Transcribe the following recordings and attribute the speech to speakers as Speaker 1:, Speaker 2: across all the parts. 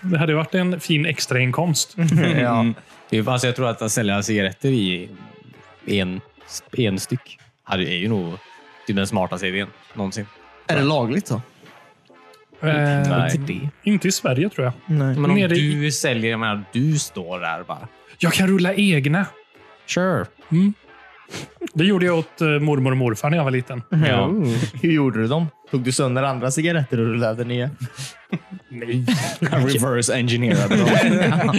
Speaker 1: Det hade ju varit en fin extrainkomst.
Speaker 2: ja.
Speaker 3: Mm. Alltså jag tror att att sälja cigaretter i en, en styck hade- är ju nog typ den smartaste idén någonsin.
Speaker 2: Är det lagligt så?
Speaker 1: Eh,
Speaker 3: Nej.
Speaker 1: Inte i Sverige tror jag.
Speaker 2: Nej.
Speaker 3: Men om
Speaker 1: Nere i-
Speaker 3: du säljer, jag menar, du står där bara.
Speaker 1: Jag kan rulla egna.
Speaker 3: Sure.
Speaker 1: Det gjorde jag åt eh, mormor och morfar när jag var liten.
Speaker 3: Ja.
Speaker 2: Hur gjorde du dem? Tog du sönder andra cigaretter och rullade nya?
Speaker 4: Reverse engineerade dem.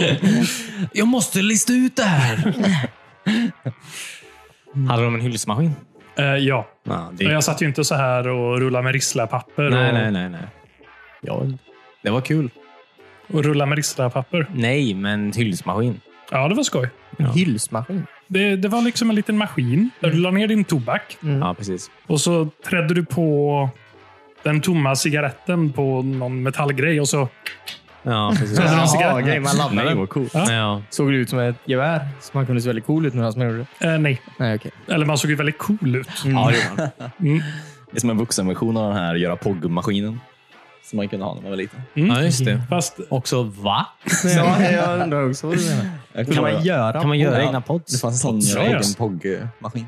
Speaker 3: Jag måste lista ut det här. Hade de en hylsmaskin?
Speaker 1: Eh, ja.
Speaker 3: Ja, det...
Speaker 1: Men Jag satt ju inte så här och rullade med risslapapper.
Speaker 3: Nej,
Speaker 1: och,
Speaker 3: nej, nej. nej. Ja, det var kul.
Speaker 1: och rullade med risslapapper.
Speaker 3: Nej, men hylsmaskin.
Speaker 1: Ja, det var skoj.
Speaker 2: En hylsmaskin?
Speaker 1: Det, det var liksom en liten maskin där du la ner din tobak
Speaker 3: Ja, precis.
Speaker 1: och så trädde du på den tomma cigaretten på någon metallgrej och så...
Speaker 3: Ja, precis.
Speaker 1: Hade du en cigarett?
Speaker 2: grej man laddade
Speaker 3: Nej,
Speaker 2: den. Cool.
Speaker 3: Ja.
Speaker 2: Såg det ut som ett gevär? Så man kunde se väldigt cool ut medan man gjorde det?
Speaker 1: Eh, nej.
Speaker 2: Nej, okej.
Speaker 1: Eller man såg ju väldigt cool ut.
Speaker 3: Ja, det gjorde han.
Speaker 4: Det är som en vuxenversion av den här göra POG-maskinen. Som man kunde ha när man var liten.
Speaker 3: ja, just det.
Speaker 1: Fast
Speaker 3: Mm. Också, va?
Speaker 2: Ja, jag undrar också vad du menar.
Speaker 4: Jag
Speaker 2: Kan
Speaker 4: kommer-
Speaker 2: man göra?
Speaker 3: Kan man göra
Speaker 4: Ja,
Speaker 3: egna pods?
Speaker 4: Det fanns en sån
Speaker 1: Ja, ja.
Speaker 4: egen POG-maskin.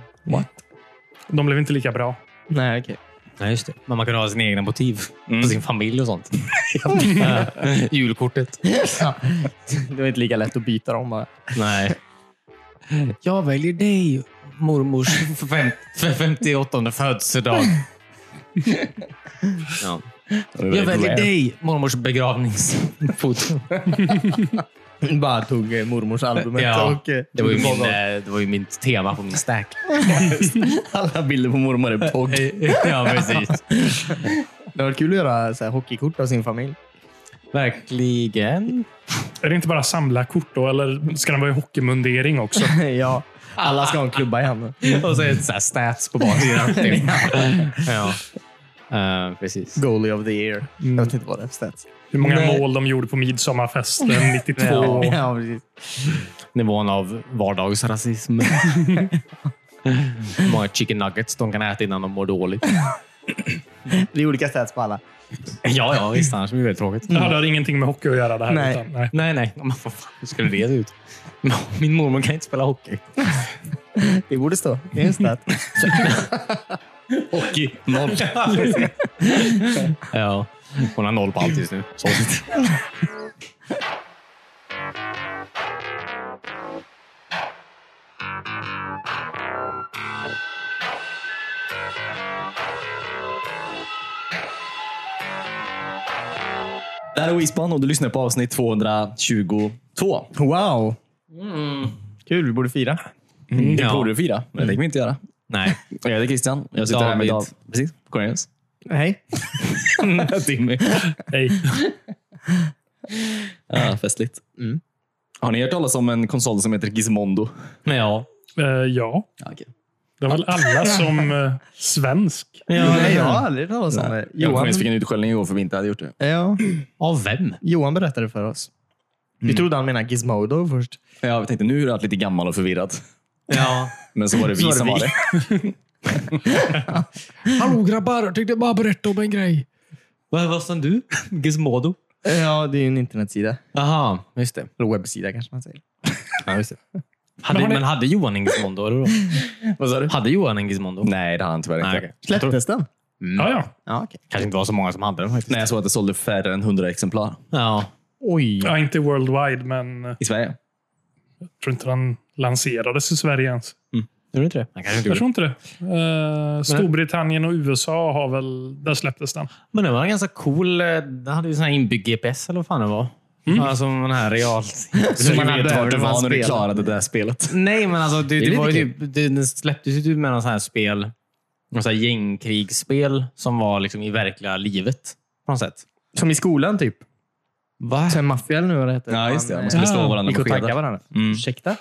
Speaker 1: de blev inte lika bra.
Speaker 2: Nej, okej.
Speaker 3: Nej, just det. Men man kunde ha sina egna motiv.
Speaker 4: Mm.
Speaker 3: Och sin familj och sånt. Eh, Julkortet.
Speaker 2: Det var inte lika lätt att byta dem bara.
Speaker 3: Nej. Jag väljer dig, mormors fem, fem- 58 födelsedag. ja.
Speaker 4: Det var
Speaker 3: Jag
Speaker 4: väldigt
Speaker 3: väljer
Speaker 4: rare.
Speaker 3: dig, mormors begravningsfoto.
Speaker 2: Bara tog eh, mormors albumet
Speaker 3: Ja,
Speaker 2: och... eh,
Speaker 3: det, var ju
Speaker 2: tog
Speaker 3: min,
Speaker 2: bort dem.
Speaker 3: eh, det var ju min tema på min stack.
Speaker 4: Alla bilder på mormor är POG.
Speaker 3: ja, precis.
Speaker 2: Det var kul att göra så här, hockeykort av sin familj.
Speaker 3: Verkligen.
Speaker 1: Är det inte bara samla kort då, eller ska den vara i hockeymundering också?
Speaker 2: ja. Alla ska ha en klubba i handen.
Speaker 3: Och så är det så här stats på baksidan. typ. ja. Eh, precis.
Speaker 2: Goalie of the year. Jag vet inte vad det är för stats.
Speaker 1: Hur många
Speaker 3: Nej.
Speaker 1: mål de gjorde på midsommarfesten 92.
Speaker 2: Ja, precis.
Speaker 3: Nivån av vardagsrasism. Hur många chicken nuggets de kan äta innan de mår dåligt.
Speaker 2: Det är olika stats på alla.
Speaker 3: Ja, ja, visst. Mm. Annars blir det väldigt tråkigt.
Speaker 1: Det hade ingenting med hockey att göra det här.
Speaker 2: Nej.
Speaker 1: Utan, nej.
Speaker 3: Nej, nej. Men vad fan, Hur skulle det se ut? Min mormor kan inte spela hockey.
Speaker 2: Det borde stå. Det är en stat.
Speaker 3: Hockey, noll. ja, hon har noll på allt just nu. Så.
Speaker 4: Det här är Wispan och du lyssnar på avsnitt 222.
Speaker 2: Wow! Kul, vi borde fira.
Speaker 4: Det
Speaker 3: Ja.
Speaker 4: borde du fira, men det tänker vi inte göra.
Speaker 3: Nej.
Speaker 4: Jag heter Christian. Jag sitter här med Dav.
Speaker 3: David.
Speaker 4: Precis. Cornelius.
Speaker 2: Hej.
Speaker 4: Timmy.
Speaker 1: Nej.
Speaker 4: Ja, festligt. Har ni hört talas om en konsol som heter Gizmondo?
Speaker 3: Men ja.
Speaker 1: Eh, ja,
Speaker 4: Ja, okay.
Speaker 1: det var väl alla som eh, svensk.
Speaker 2: Nej, jag har aldrig hört talas om det.
Speaker 4: Jag och
Speaker 2: Johan,
Speaker 4: Cornelius fick en utskällning igår för vi inte hade gjort det.
Speaker 2: ja, Mm.
Speaker 3: Av vem?
Speaker 2: Johan berättade för oss. Vi trodde han menade Gizmodo först.
Speaker 4: Ja, vi tänkte nu är du allt lite gammal och förvirrad.
Speaker 3: Ja.
Speaker 4: Men så var det vi
Speaker 2: Så var det
Speaker 4: som
Speaker 2: vi.
Speaker 4: var det.
Speaker 3: Hallå grabbar, jag tänkte bara berätta om en grej. Vad vad sa du? Gizmodo?
Speaker 2: Ja, det är ju en internetsida.
Speaker 3: Jaha, just det.
Speaker 2: Eller webbsida kanske man säger.
Speaker 3: Ja, just det. Hade,
Speaker 1: Men
Speaker 3: men,
Speaker 1: har ni-
Speaker 3: hade Johan en Gizmondo? eller då?
Speaker 4: Vad sa du?
Speaker 3: Hade Johan en Gizmondo?
Speaker 4: Nej, det har han tyvärr inte.
Speaker 3: Nej,
Speaker 4: Nej,
Speaker 3: okej.
Speaker 2: Släpptes den? Mm.
Speaker 1: Ja, ja.
Speaker 2: Ja, okej.
Speaker 3: kanske inte var så många som hade den faktiskt.
Speaker 4: jag såg att det sålde färre än 100 exemplar
Speaker 3: Ja.
Speaker 2: Oj.
Speaker 1: ja, inte worldwide, men eh,
Speaker 4: i Sverige.
Speaker 1: jag tror inte den lanserades i Sverige ens.
Speaker 3: Gjorde du inte det? Han kanske inte
Speaker 1: Jag
Speaker 3: gjorde.
Speaker 1: tror inte det. Eh, Storbritannien och USA har väl... Där släpptes den.
Speaker 3: Men det var en ganska cool... eh, Den hade ju sån här inbyggd GPS eller vad fan det var. Alltså den här realt...
Speaker 2: Så man
Speaker 4: vet
Speaker 2: behöver
Speaker 4: vart du
Speaker 2: man
Speaker 4: var när du
Speaker 2: spela.
Speaker 4: klarade det där spelet.
Speaker 3: Nej, men alltså det, det,
Speaker 2: lite
Speaker 3: var ju typ, det, den släpptes ju typ med någon sån här spel. Någon sån här gängkrigsspel som var liksom i verkliga livet. På något sätt.
Speaker 2: Som i skolan typ.
Speaker 3: Va?
Speaker 2: Sen maffia eller nu vad det heter.
Speaker 4: Ja, just det. Man
Speaker 2: Man
Speaker 4: skulle slå
Speaker 1: Ah,
Speaker 2: eh,
Speaker 4: varandra
Speaker 2: gick och
Speaker 4: med
Speaker 2: taggade
Speaker 4: skedar.
Speaker 2: varandra. Ursäkta?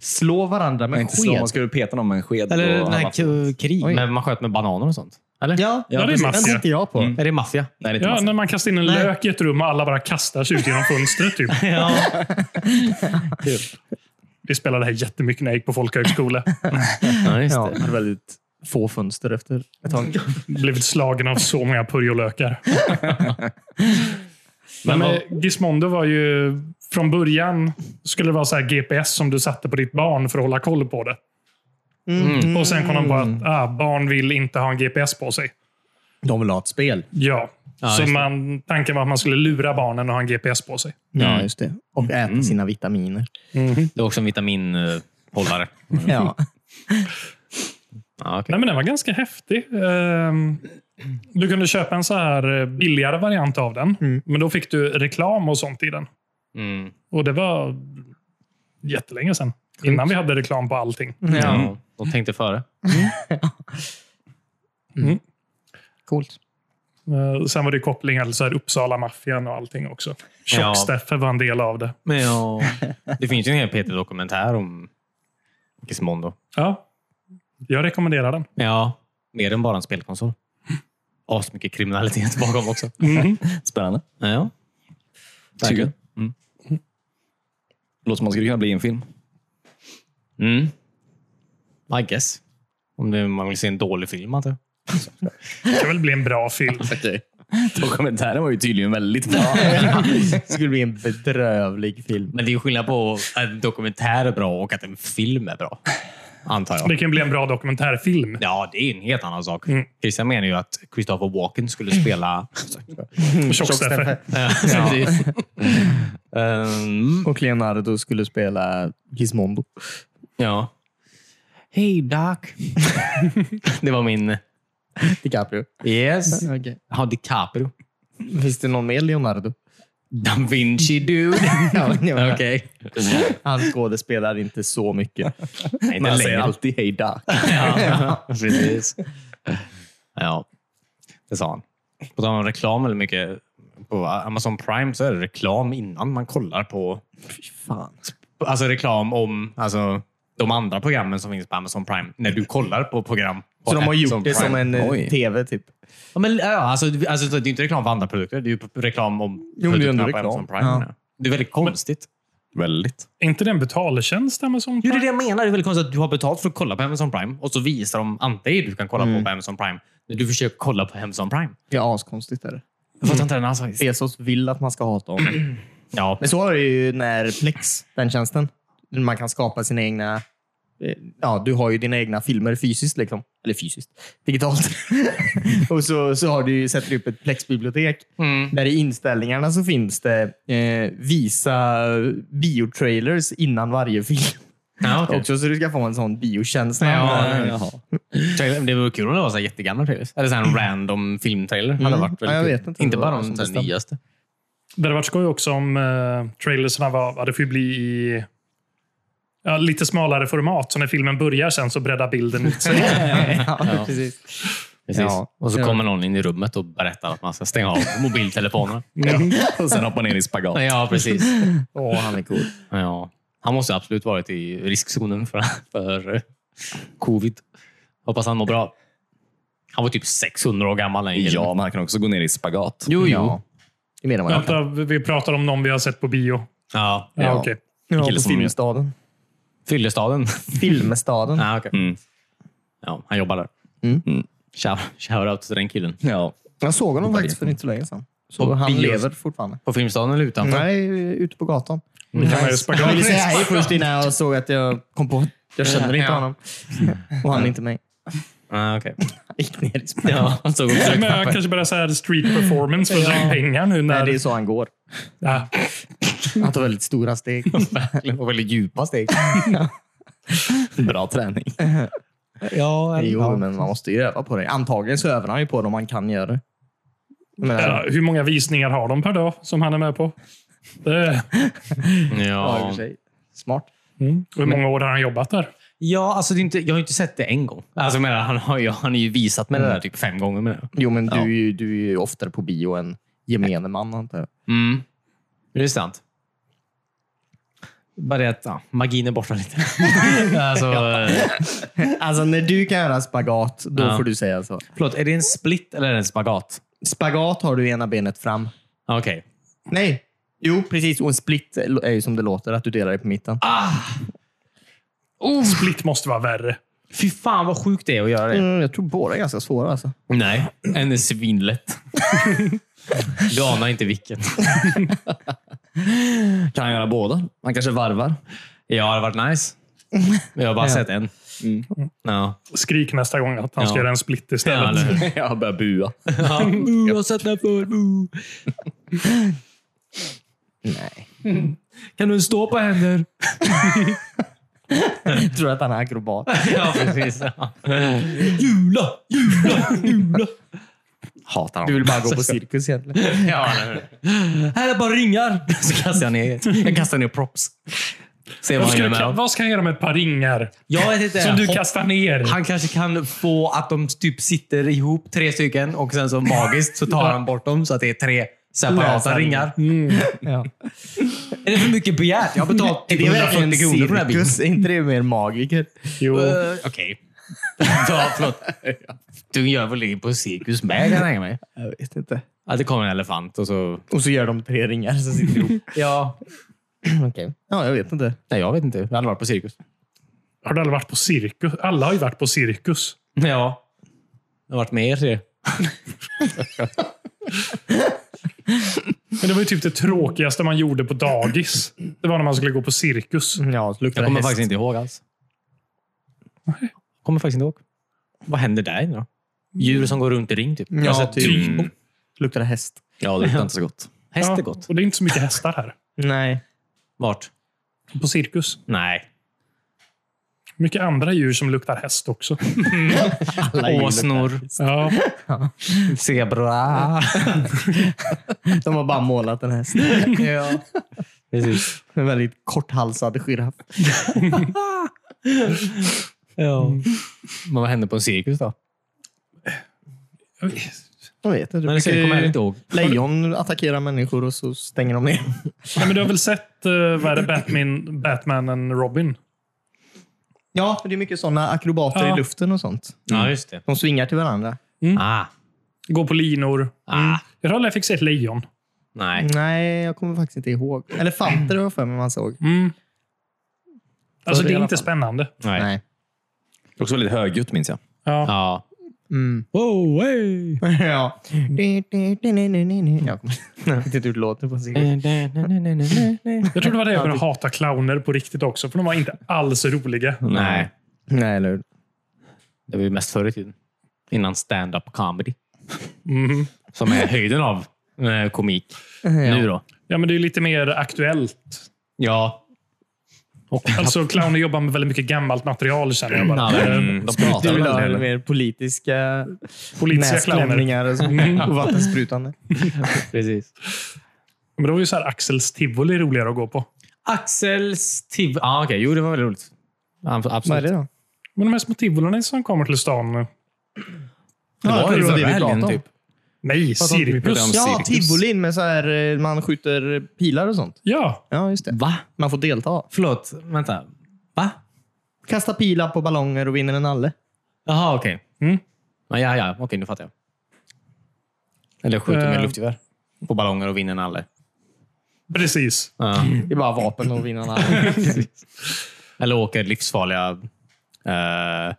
Speaker 2: Slå varandra med
Speaker 4: Nej,
Speaker 2: en
Speaker 4: inte slå.
Speaker 2: sked.
Speaker 4: Man skulle peta någon med en sked.
Speaker 3: Eller
Speaker 4: och-
Speaker 3: den här k- krig,
Speaker 2: Oj.
Speaker 3: men man sköt med bananer och sånt. Eller?
Speaker 2: Ja,
Speaker 1: Ja, det är
Speaker 2: precis.
Speaker 1: maffia.
Speaker 2: den tänkte jag på.
Speaker 3: Är det maffia?
Speaker 4: Nej, det är inte
Speaker 1: Ja,
Speaker 4: massa.
Speaker 1: när man kastar in en lök i ett rum och alla bara kastar sig ut genom fönstret. Typ.
Speaker 3: Ja.
Speaker 1: Vi spelade det här jättemycket när jag gick på folkhögskola.
Speaker 3: ja, just
Speaker 2: Ja,
Speaker 3: det.
Speaker 2: det var väldigt få fönster efter ett tag.
Speaker 1: Blivit slagen av så många purjolökar. Men,
Speaker 3: Men
Speaker 1: men Gizmondo var ju... Från början skulle det vara så här GPS som du satte på ditt barn för att hålla koll på det.
Speaker 2: Mm.
Speaker 1: Och sen kom de på att ah, barn vill inte ha en GPS på sig.
Speaker 2: De vill ha ett spel.
Speaker 1: Ja.
Speaker 3: Ja,
Speaker 1: så
Speaker 3: just det.
Speaker 1: man, tanken var att man skulle lura barnen att ha en GPS på sig.
Speaker 2: Ja, just det. Och äta sina vitaminer.
Speaker 3: Det är också en vitaminhållare.
Speaker 2: Ja.
Speaker 3: Ja, okej.
Speaker 1: Nej, men den var ganska häftig. Ehm, Du kunde köpa en så här eh, billigare variant av den.
Speaker 2: Mm.
Speaker 1: Men då fick du reklam och sånt i den.
Speaker 3: Mm.
Speaker 1: Och det var jättelänge sedan. Innan vi hade reklam på allting.
Speaker 3: Ja, de tänkte före.
Speaker 2: Coolt.
Speaker 1: Eh, Sen var det kopplingar till så här Uppsala-maffian och allting också.
Speaker 3: Ja.
Speaker 1: Tjock-Steffe var en del av det.
Speaker 3: Men ja. Det finns ju en hel PT-dokumentär om Gizmondo.
Speaker 1: Ja. Jag rekommenderar den.
Speaker 3: Ja, mer än bara en spelkonsol. Asmycket kriminalitet bakom också.
Speaker 4: Spännande.
Speaker 3: Ja.
Speaker 4: Tycker jag.
Speaker 3: Verkligen.
Speaker 4: Mm. Låter som man skulle kunna bli i en film.
Speaker 3: Mm. I guess. Om det, man vill se en dålig film, antar jag.
Speaker 1: Det kan väl bli en bra film.
Speaker 4: Okej. Dokumentären var ju tydligen väldigt bra.
Speaker 2: Det skulle bli en bedrövlig film.
Speaker 3: Men det är ju skillnad på att en dokumentär är bra och att en film är bra. Antar jag.
Speaker 1: Det kan bli en bra dokumentärfilm.
Speaker 3: Ja, det är en helt annan sak.
Speaker 1: Mm.
Speaker 3: Christian menar ju att Christopher Walken skulle
Speaker 2: Mm.
Speaker 3: spela...
Speaker 1: Tjock-Steffe.
Speaker 3: Ja, precis. Ehm,
Speaker 2: Och Leonardo skulle spela Gizmondo.
Speaker 3: ja. Hej, Doc. det var min...
Speaker 2: DiCaprio.
Speaker 3: Yes.
Speaker 2: Okay.
Speaker 3: Ja, DiCaprio.
Speaker 2: Finns det någon mer Leonardo?
Speaker 3: Da Vinci, dude.
Speaker 2: Ja,
Speaker 3: Okej.
Speaker 2: Han skådespelar inte så mycket.
Speaker 3: Nej,
Speaker 2: Men
Speaker 3: inte
Speaker 2: han säger
Speaker 3: längre.
Speaker 2: alltid hej Doc.
Speaker 3: Ja, precis. Ja, det sa han. På tal om reklam väldigt mycket. På Amazon Prime så är det reklam innan man kollar på
Speaker 2: Fan.
Speaker 3: alltså reklam om alltså, de andra programmen som finns på Amazon Prime. När du kollar på program. på
Speaker 2: Så de har
Speaker 3: Amazon
Speaker 2: gjort det
Speaker 3: Prime.
Speaker 2: som en eh,
Speaker 4: Oj.
Speaker 2: tv typ.
Speaker 3: Ja, men, ja, alltså, alltså, det är ju inte reklam för andra produkter. Det är ju reklam om
Speaker 2: det är ju
Speaker 3: produkterna
Speaker 2: ändå
Speaker 3: på
Speaker 2: reklam.
Speaker 3: Amazon Prime.
Speaker 2: Ja.
Speaker 3: ja. Det är väldigt konstigt.
Speaker 4: väldigt.
Speaker 1: Är inte det en betaltjänst, Amazon
Speaker 3: Jo,
Speaker 1: Prime?
Speaker 3: det är det jag menar. Det är väldigt konstigt att du har betalt för att kolla på Amazon Prime och så visar de andra grejer du kan kolla
Speaker 2: Mm.
Speaker 3: på på Amazon Prime när du försöker kolla på Amazon Prime.
Speaker 2: Det är askonstigt. Är det. alltså.
Speaker 3: Jag fattar inte den alls faktiskt.
Speaker 2: Bezos vill att man ska hata honom.
Speaker 3: Ja.
Speaker 2: Men så var det ju när Plex, den tjänsten. Man kan skapa sina egna... eh, Ja, du har ju dina egna filmer fysiskt. Liksom. Eller fysiskt. Digitalt. och så, så har du, ju- sätter du upp ett Plex-bibliotek.
Speaker 3: Mm.
Speaker 2: Där i inställningarna så finns det eh, visa biotrailers innan varje film.
Speaker 3: Ja, okay.
Speaker 2: Också så du ska få en sån biotjänst.
Speaker 3: Ja, ja,
Speaker 4: Jaha.
Speaker 2: Mm.
Speaker 3: Trailer- Det vore kul om det var så här jättegamla trailers. Eller så här en random filmtrailer. Hade
Speaker 2: Mm.
Speaker 3: varit
Speaker 2: Ja,
Speaker 3: väldigt
Speaker 2: jag
Speaker 3: kul.
Speaker 2: vet inte.
Speaker 3: inte
Speaker 2: Det
Speaker 3: bara
Speaker 2: var
Speaker 3: de
Speaker 2: som
Speaker 3: så här
Speaker 2: bestämt.
Speaker 3: nyaste.
Speaker 1: Det hade varit skoj också om eh, trailersna var, ja, det får ju bli i ja, lite smalare format. Så när filmen börjar sen så breddar bilden ut sig.
Speaker 2: ja, precis. Ja.
Speaker 3: Och så
Speaker 2: Ja.
Speaker 3: kommer någon in i rummet och berättar att man ska stänga av mobiltelefonerna.
Speaker 4: Och sen hoppar ner i spagat.
Speaker 3: ja, precis.
Speaker 2: Åh, han är cool.
Speaker 3: Ja. Han måste absolut varit i riskzonen för, för eh, covid. Hoppas han mår bra. Han var typ 600 år gammal. Den killen.
Speaker 4: Ja, men han kan också gå ner i spagat.
Speaker 3: Jo, jo.
Speaker 2: Ja. Det menar man
Speaker 1: Vänta, vi pratar om någon vi har sett på bio.
Speaker 3: Ja.
Speaker 1: Ja,
Speaker 2: Ja.
Speaker 1: okej.
Speaker 2: Ja,
Speaker 4: kille
Speaker 2: på
Speaker 4: som-
Speaker 2: Filmstaden.
Speaker 3: Fyllestaden.
Speaker 2: Filmstaden.
Speaker 3: Ja, Ah, okej.
Speaker 4: Mm.
Speaker 3: ja, han jobbar där.
Speaker 2: Mm.
Speaker 3: Mm. Shout- Shoutout till den killen.
Speaker 4: Ja.
Speaker 2: Jag såg honom faktiskt för inte så länge sedan. Så
Speaker 3: Och
Speaker 2: han
Speaker 3: bio-
Speaker 2: lever fortfarande.
Speaker 3: På Filmstaden eller utanför? Mm.
Speaker 2: Nej, ute på gatan.
Speaker 1: Vi kan ha ju
Speaker 2: Jag ville
Speaker 1: spagat.
Speaker 2: säga hej först innan jag såg att jag kom på att jag känner inte
Speaker 3: Ja.
Speaker 2: honom. Och han inte mig.
Speaker 3: Ah, okej.
Speaker 2: Jag gick ner i spärren.
Speaker 3: Ja, han såg också
Speaker 1: Men jag kanske börjar säga street performance för att dra in pengar nu. När,
Speaker 2: Nej, det är så han går.
Speaker 1: ja.
Speaker 2: Han tar väldigt stora steg.
Speaker 3: Och väldigt djupa steg.
Speaker 4: Bra träning.
Speaker 3: Ja,
Speaker 2: Jo, men man måste ju öva på det. Antagligen så övar han ju på det om man kan göra det. Men,
Speaker 1: Ja, hur många visningar har de per dag som han är med på? Det,
Speaker 2: ja, i och
Speaker 3: ja.
Speaker 2: för sig. Smart.
Speaker 1: mm. hur många år har han jobbat där?
Speaker 3: ja alltså, det är inte, jag har ju inte sett det en gång. Alltså, jag menar, han, har ju, han är ju visat med det där typ fem gånger. Med det.
Speaker 2: Jo, men du, är ju, du är ju oftare på bio än gemene man, antar jag.
Speaker 3: Mm. Det är sant. Bara det att ja, magin är borta lite. alltså, eh,
Speaker 2: Alltså, när du kan göra spagat, då
Speaker 3: Ja.
Speaker 2: får du säga så.
Speaker 3: Förlåt, är det en split eller är det en spagat?
Speaker 2: Spagat har du ena benet fram.
Speaker 3: Ah, Okej.
Speaker 2: Nej. Jo, precis. Och en split är ju som det låter, att du delar det på mitten.
Speaker 3: Ah! Oh.
Speaker 1: Split måste vara värre.
Speaker 3: Fy fan vad Mm. sjukt det är att göra det.
Speaker 2: Mm, jag tror båda är ganska svåra. Alltså.
Speaker 3: Nej, en är svinlätt. Du anar inte vilket.
Speaker 4: Kan han göra båda? Han kanske varvar?
Speaker 3: Ja, det har varit nice. Jag har bara
Speaker 2: Ja.
Speaker 3: sett en.
Speaker 4: Mm.
Speaker 3: Ja.
Speaker 1: Skrik nästa gång att han ska
Speaker 3: Ja.
Speaker 1: göra en split
Speaker 3: Ja,
Speaker 1: istället.
Speaker 3: eller hur?
Speaker 4: Jag börjar bua.
Speaker 3: Ja. Boo, jag har sett den här förr. Mm. Boo.
Speaker 2: Nej.
Speaker 3: Kan du stå på händer?
Speaker 2: Jag tror att han är akrobat.
Speaker 3: Ja, precis. Ja. Jula, jula, jula. Hatar
Speaker 2: Du
Speaker 3: honom.
Speaker 2: vill bara gå på cirkus egentligen.
Speaker 3: Ja, eller hur? Här är bara ringar. Så kastar jag ner, jag kastar ner props. Se vad
Speaker 1: Vad,
Speaker 3: han
Speaker 1: ska
Speaker 3: gör
Speaker 1: jag,
Speaker 3: med
Speaker 1: kan-
Speaker 3: dem.
Speaker 1: vad ska jag göra med ett par ringar
Speaker 3: Jag vet inte.
Speaker 1: som du
Speaker 3: Hopp-
Speaker 1: kastar ner?
Speaker 2: Mm.
Speaker 3: Han kanske kan få att de typ sitter ihop, tre stycken, och sen så magiskt så tar han bort dem så att det är tre separata
Speaker 2: Lösa
Speaker 3: ringar.
Speaker 1: Mm.
Speaker 2: Ja.
Speaker 3: Är det för mycket begärt? Jag har betalat typ 140 kronor för den här bilden.
Speaker 2: cirkus? Är inte det mer magiker? Äh,
Speaker 1: Jo.
Speaker 3: Eh, Okej. Ja, förlåt. Du gör väl det på cirkus med, kan jag tänka mig.
Speaker 2: Jag vet inte.
Speaker 3: Ja, det kommer en elefant och så...
Speaker 2: Och så gör de tre ringar så sitter de ihop.
Speaker 3: Ja.
Speaker 2: Okej. Ja, jag vet inte.
Speaker 3: Nej, jag vet inte. Jag har aldrig varit på cirkus.
Speaker 1: Har du aldrig varit på cirkus? Alla har ju varit på cirkus.
Speaker 3: Ja. Jag har varit med er tre.
Speaker 1: Men det var ju typ det tråkigaste man gjorde på dagis. Det var när man skulle gå på cirkus.
Speaker 2: Ja, så luktar
Speaker 3: Jag
Speaker 2: det
Speaker 3: kommer
Speaker 2: häst.
Speaker 3: faktiskt inte ihåg alls. kommer faktiskt inte ihåg. Vad händer där inne då? Djur som går runt i ring typ.
Speaker 2: Ja,
Speaker 3: Jag har sett
Speaker 2: typ.
Speaker 3: djur.
Speaker 2: Luktar det häst?
Speaker 4: Ja, det luktar inte så gott.
Speaker 3: Häst är
Speaker 1: Ja,
Speaker 3: gott.
Speaker 1: Och det är inte så mycket hästar här.
Speaker 2: Nej.
Speaker 3: Vart?
Speaker 1: På cirkus.
Speaker 3: Nej.
Speaker 1: Mycket andra djur som luktar häst också.
Speaker 3: Åsnor.
Speaker 1: Ja.
Speaker 3: Zebra.
Speaker 2: De har bara målat en häst.
Speaker 3: ja. Precis.
Speaker 2: En väldigt korthalsad giraff.
Speaker 3: Ja. Mm. Men vad händer på en cirkus då?
Speaker 2: Jag vet inte.
Speaker 3: Men det kommer jag heller inte ihåg.
Speaker 2: Lejon attackerar människor och så stänger de ner.
Speaker 1: Nej, men du har väl sett eh, vad är det, Batman, Batman and Robin?
Speaker 2: Ja, för det är mycket sådana akrobater
Speaker 1: Ja.
Speaker 2: i luften och sånt.
Speaker 3: Ja, just det.
Speaker 2: De svingar till varandra.
Speaker 3: Ah.
Speaker 1: Gå på linor.
Speaker 3: Ah.
Speaker 1: Jag tror aldrig jag fick se ett lejon.
Speaker 3: Nej.
Speaker 2: Nej, jag kommer faktiskt inte ihåg. Elefanter har jag för mig man såg.
Speaker 1: Mm. Alltså,
Speaker 2: Förr i
Speaker 1: det är
Speaker 2: alla
Speaker 1: inte
Speaker 2: fall.
Speaker 1: spännande.
Speaker 3: Nej.
Speaker 2: Nej.
Speaker 4: Det är också väldigt högljutt, minns jag.
Speaker 1: Ja.
Speaker 3: Ja.
Speaker 2: Mm.
Speaker 3: Wow, Oh, hey.
Speaker 2: ja. Jag kommer- vet inte hur det låter på sig.
Speaker 1: Jag tror det var det jag började hata clowner på riktigt också, för de var inte alls roliga.
Speaker 3: Nej.
Speaker 2: Nej, eller hur?
Speaker 3: Det var ju mest förr i tiden. Innan stand-up comedy. Mm.
Speaker 1: Mhm.
Speaker 3: Som är höjden av eh, komik. Nu då?
Speaker 1: Ja, men det är ju lite mer aktuellt.
Speaker 3: Ja. Och
Speaker 1: Alltså, clowner jobbar med väldigt mycket gammalt material, känner jag bara. Eh,
Speaker 3: Mm, de
Speaker 2: Du
Speaker 3: pratar
Speaker 2: vill
Speaker 3: väl
Speaker 2: ha
Speaker 3: aldrig.
Speaker 2: mer politiska
Speaker 1: Politiska clowner.
Speaker 2: näsklämningar och, så- och vattensprutande.
Speaker 3: Precis.
Speaker 1: Men det var ju så här Axels tivoli roligare att gå på.
Speaker 3: Axels tiv... Ja, ah, okej. Jo, det var väldigt roligt. Ja, Absolut.
Speaker 2: Vad är det då?
Speaker 1: Men de här små tivolorna som kommer till stan eh, nu.
Speaker 3: Det
Speaker 2: Ja,
Speaker 3: var
Speaker 2: det
Speaker 3: ju
Speaker 2: var det
Speaker 3: förra
Speaker 2: vi
Speaker 3: helgen,
Speaker 2: pratade om.
Speaker 3: typ.
Speaker 1: Nej,
Speaker 3: Pratade inte vi
Speaker 1: cirkus.
Speaker 3: om-
Speaker 2: Ja,
Speaker 3: cirkus.
Speaker 2: tivolin med så här, eh, man skjuter pilar och sånt.
Speaker 1: Ja.
Speaker 2: Ja, just det.
Speaker 3: Va?
Speaker 2: Man får delta.
Speaker 3: Förlåt. Vänta. Va?
Speaker 2: Kasta pilar på ballonger och vinner en nalle.
Speaker 3: Jaha, okej.
Speaker 1: Mm.
Speaker 3: Ja, ja, ja. Okej, nu fattar jag. Eller skjuter med
Speaker 1: Eh.
Speaker 3: luftgevär. På ballonger och vinner en alle.
Speaker 1: Precis.
Speaker 3: Ja.
Speaker 2: Det är bara vapen och vinna en nalle.
Speaker 3: Eller åker livsfarliga eh,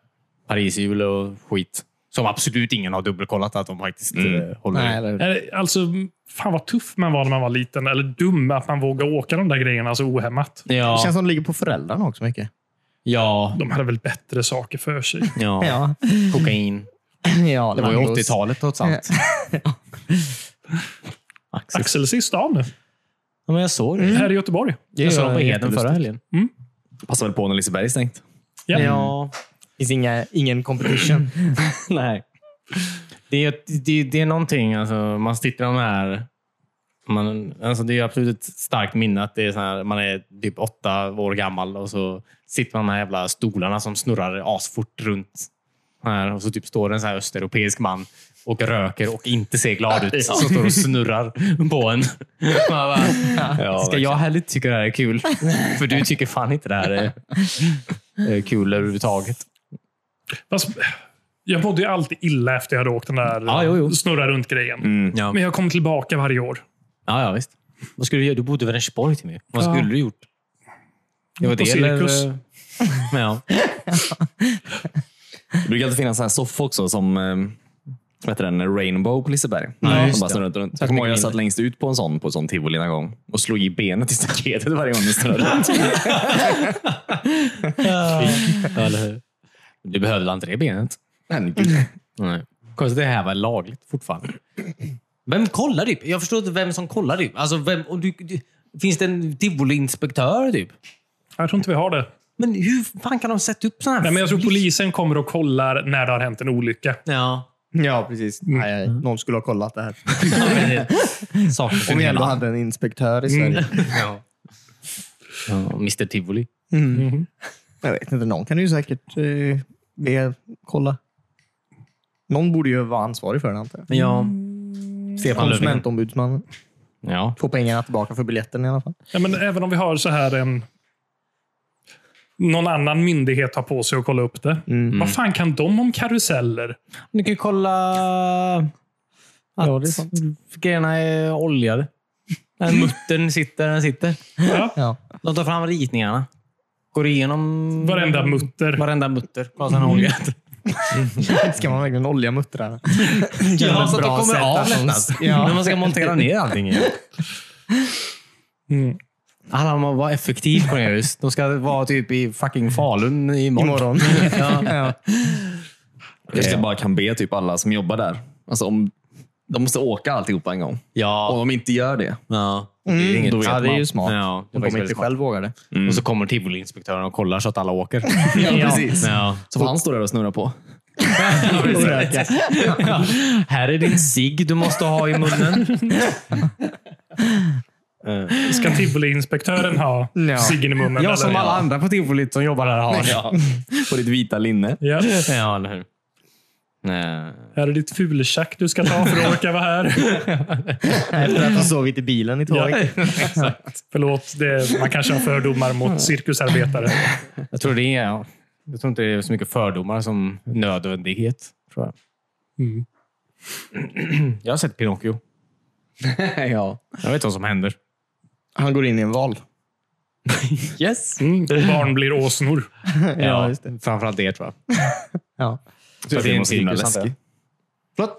Speaker 3: Parishjul och skit. Som absolut ingen har dubbelkollat att de faktiskt eh, håller i.
Speaker 2: Nej, eller hur?
Speaker 1: Eh, Alltså, fan vad tuff man var när man var liten. Eller dum att man vågade åka de där grejerna så ohämmat.
Speaker 2: Det
Speaker 3: Ja,
Speaker 2: känns som det ligger på föräldrarna också mycket.
Speaker 3: ja,
Speaker 1: De hade väl bättre saker för sig.
Speaker 3: ja,
Speaker 2: Ja.
Speaker 3: Kokain.
Speaker 2: ja
Speaker 3: Det var ju
Speaker 2: mangos.
Speaker 3: 80-talet trots allt. Axel. Mm.
Speaker 1: Axels är i stan nu.
Speaker 3: Ja, men jag såg det.
Speaker 1: Här i Göteborg.
Speaker 3: Jag såg
Speaker 2: var
Speaker 3: dem på Heden
Speaker 2: jättelustigt.
Speaker 3: förra helgen.
Speaker 4: Passar väl på när Liseberg är stängt.
Speaker 1: Ja.
Speaker 3: Ja.
Speaker 2: Mm. Det finns inga, ingen competition.
Speaker 3: Nej. Det är, det, det är någonting, alltså, man sitter i de här... Man, alltså, det är absolut ett starkt minne att det är så här, man är typ åtta år gammal och så sitter man med de här jävla stolarna som snurrar asfort runt. Här, och så typ står det en så här östeuropeisk man och röker och inte ser glad ut. Som står och snurrar på en. Man bara, ska jag heller tycka det här är kul? För du tycker fan inte det här är, är kul överhuvudtaget.
Speaker 1: Fast, jag mådde ju alltid illa efter jag hade åkt den där
Speaker 3: Ja, jo, Mm. jo.
Speaker 1: snurra runt-grejen.
Speaker 3: Ja.
Speaker 1: Men jag kom tillbaka varje år.
Speaker 3: Ja, ja visst. Vad skulle du göra? Du bodde i Vänersborg till mig. Vad skulle du gjort? Det var
Speaker 1: På
Speaker 3: det,
Speaker 1: cirkus.
Speaker 3: Eller, men ja.
Speaker 4: Det brukar alltid finnas en sån här soffa också som eh, vad heter den, Rainbow på Liseberg.
Speaker 2: Ja,
Speaker 4: De
Speaker 2: just
Speaker 4: bara
Speaker 2: det.
Speaker 4: snurrar runt och runt. Jag kommer ihåg jag satt längst ut på en sån på en sån tivoli en gång och slog i benet i staketet varje gång den snurrade runt.
Speaker 3: Ja, eller hur? Du behövde väl inte det benet?
Speaker 4: Men gud.
Speaker 3: Nej. Konstigt att det här var lagligt fortfarande. Vem kollar typ? Jag förstår inte vem som kollar typ. Alltså, vem, och du, du, finns det en tivoliinspektör typ?
Speaker 1: Jag tror inte vi har det.
Speaker 3: Men hur fan kan de sätta upp sådana här?
Speaker 1: Nej, men jag tror polisen kommer och kollar när det har hänt en olycka.
Speaker 3: Ja. Mm.
Speaker 2: Ja, precis. Nej, nej, någon skulle ha kollat det här.
Speaker 3: Ja, men det- Saker
Speaker 2: Om
Speaker 3: som
Speaker 2: vi ändå
Speaker 3: hela-
Speaker 2: hade en inspektör i Sverige.
Speaker 3: Ja. Ja, Mr Tivoli.
Speaker 2: Mm.
Speaker 3: Mm.
Speaker 2: Jag vet inte, någon kan ju säkert eh, be kolla. Någon borde ju vara ansvarig för den, antar jag.
Speaker 3: Ja.
Speaker 1: Mm.
Speaker 2: Se
Speaker 3: Löfven.
Speaker 2: konsumentombudsmannen.
Speaker 3: ja.
Speaker 2: Få pengarna tillbaka för biljetten i alla fall.
Speaker 1: Ja, men även om vi har så här en... Någon annan myndighet tar på sig att kolla upp det.
Speaker 3: Mm.
Speaker 1: Vad fan kan de om karuseller?
Speaker 3: Ni kan ju kolla att
Speaker 2: Ja, det är sant.
Speaker 3: grejerna är oljade. Den muttern sitter där den sitter.
Speaker 1: Ja,
Speaker 2: Ja.
Speaker 3: De tar fram ritningarna. Går igenom
Speaker 1: varenda mutter.
Speaker 3: varenda mutter. Kollar sen oljat.
Speaker 2: Mm. Ska man verkligen olja muttrarna?
Speaker 3: Ja, så att det
Speaker 2: Bra
Speaker 3: kommer
Speaker 2: sätt
Speaker 3: av
Speaker 2: att de-
Speaker 3: lättast.
Speaker 2: Ja.
Speaker 3: När man ska montera ner allting. igen.
Speaker 1: Mm.
Speaker 3: Alla måste vara effektiv Cornelius. De ska vara typ i fucking Falun imorgon.
Speaker 2: Imorgon.
Speaker 3: Ja.
Speaker 2: ja.
Speaker 4: Jag ska bara kan be typ alla som jobbar där. Alltså om, de måste åka alltihopa en gång. Om
Speaker 3: Ja.
Speaker 4: de inte gör det.
Speaker 3: ja.
Speaker 2: Mm.
Speaker 4: inget-
Speaker 2: ja,
Speaker 4: då vet
Speaker 2: det är
Speaker 4: man.
Speaker 2: ju smart.
Speaker 3: Ja, det
Speaker 2: De kommer
Speaker 3: var
Speaker 2: inte
Speaker 3: väldigt smart. Mm.
Speaker 2: själv våga det.
Speaker 3: Och så kommer tivoliinspektören och kollar så att alla åker.
Speaker 2: Ja.
Speaker 3: Ja.
Speaker 4: Så får han stå där och snurra på.
Speaker 2: Och röka.
Speaker 3: Ja. Här är din cigg du måste ha i munnen.
Speaker 1: Ska tivoliinspektören ha
Speaker 2: Ja.
Speaker 1: ciggen i munnen?
Speaker 3: Jag som
Speaker 1: eller?
Speaker 3: alla andra på tivolit som jobbar här har.
Speaker 4: Ja. På ditt vita linne.
Speaker 1: Ja.
Speaker 3: Ja, eller hur? Nej.
Speaker 1: Här är ditt fultjack du ska ta för att orka vara här.
Speaker 2: Efter att ha sovit i bilen i två
Speaker 1: Ja.
Speaker 2: veckor.
Speaker 1: Förlåt, det, man kanske har fördomar
Speaker 2: Mm.
Speaker 1: mot cirkusarbetare.
Speaker 3: Jag tror det är... ja. Jag tror inte det är så mycket fördomar som nödvändighet. Tror jag.
Speaker 1: Mm.
Speaker 3: jag har sett Pinocchio.
Speaker 4: Mm. ja.
Speaker 3: Jag vet vad som händer.
Speaker 2: Han går in i en val.
Speaker 4: Yes.
Speaker 1: Mm. Och barn blir åsnor.
Speaker 2: Ja, just det.
Speaker 3: Framförallt det tror jag.
Speaker 2: Ja.
Speaker 4: Tur att det är en
Speaker 3: cirkus,
Speaker 4: cirkus.
Speaker 3: antar jag.
Speaker 4: Läskig.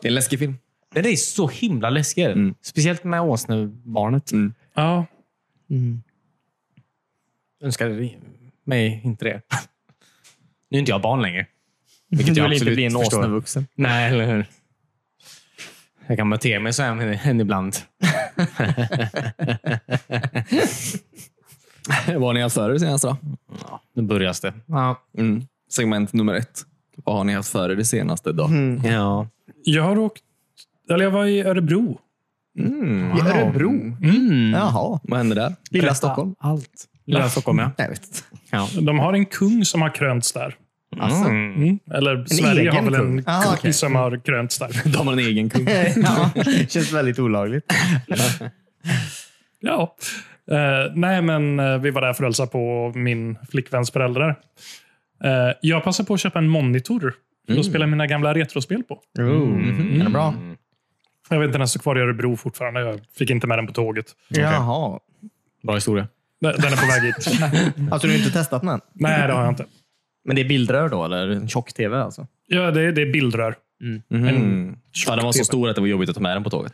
Speaker 4: Det är en läskig film.
Speaker 3: Den är så himla läskig.
Speaker 4: Mm.
Speaker 3: Speciellt med åsnebarnet.
Speaker 4: Mm.
Speaker 1: Ja.
Speaker 3: önskade mig inte det. Nu är inte jag barn längre.
Speaker 2: Vilket du
Speaker 3: jag
Speaker 2: vill inte
Speaker 3: absolut
Speaker 2: bli en
Speaker 3: förstår.
Speaker 2: åsnevuxen.
Speaker 3: Nej, eller hur? Jag kan bete mig så här med henne ibland.
Speaker 4: Vad har ni haft för er senast då?
Speaker 3: Ja, nu börjar det. Ja.
Speaker 4: Mm. Segment nummer ett. Vad har ni haft för er det senaste då?
Speaker 3: Mm. ja.
Speaker 1: Jag har åkt... Eller jag var i Örebro.
Speaker 2: I Örebro? Mm. Jaha.
Speaker 4: Vad hände där?
Speaker 2: Lilla Stockholm?
Speaker 3: Allt. Lilla Stockholm, ja.
Speaker 2: Nej, jag vet inte.
Speaker 3: ja.
Speaker 1: De har en kung som har krönts där.
Speaker 3: Alltså.
Speaker 1: Mm. Eller Sverige har
Speaker 2: egen
Speaker 1: väl en
Speaker 2: kung? Ah,
Speaker 1: kung
Speaker 2: okej.
Speaker 1: som har krönts där.
Speaker 4: De har en egen kung.
Speaker 2: ja, känns väldigt olagligt.
Speaker 1: Ja. Eh, nej, men eh, vi var där för att hälsa på min flickväns föräldrar. Eh, jag passade på att köpa en monitor för
Speaker 2: Mm.
Speaker 1: att spela mina gamla retrospel på.
Speaker 2: Oh. Är det bra?
Speaker 1: Jag vet inte, den står kvar i Örebro fortfarande. Jag fick inte med den på tåget.
Speaker 2: Jaha.
Speaker 3: Bra historia.
Speaker 1: Den den är på väg hit.
Speaker 2: Alltså, du har inte testat den än?
Speaker 1: nej, det har jag inte.
Speaker 2: Men det är bildrör då, eller en tjock-tv alltså?
Speaker 1: Ja, det, är- det är bildrör.
Speaker 4: Mm. Ja, den var så stor att det var jobbigt att ta med den på tåget.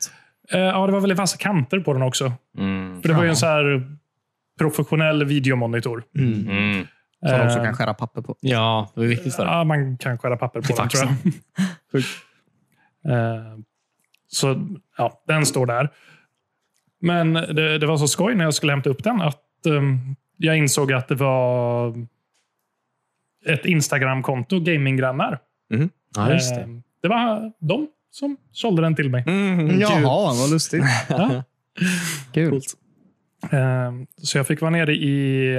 Speaker 4: Mm.
Speaker 1: Eh, ja, det var väldigt vassa kanter på den också. För Det var ju en så här professionell videomonitor.
Speaker 2: Mm. Som man
Speaker 1: Eh,
Speaker 2: också kan skära papper på.
Speaker 3: Mm. Ja, det var viktigt för
Speaker 1: Ja, man kan skära papper på den, tror jag. Eh, så ja, den står där. Men det, det var så skoj när jag skulle hämta upp den att ehm, jag insåg att det var ett Instagramkonto, Gaminggrannar.
Speaker 3: Ja,
Speaker 1: Eh, det var de som sålde den till mig.
Speaker 3: Mm.
Speaker 2: Mm. Jaha, vad lustigt.
Speaker 1: Ja.
Speaker 2: Kul.
Speaker 1: Eh, Så jag fick vara nere i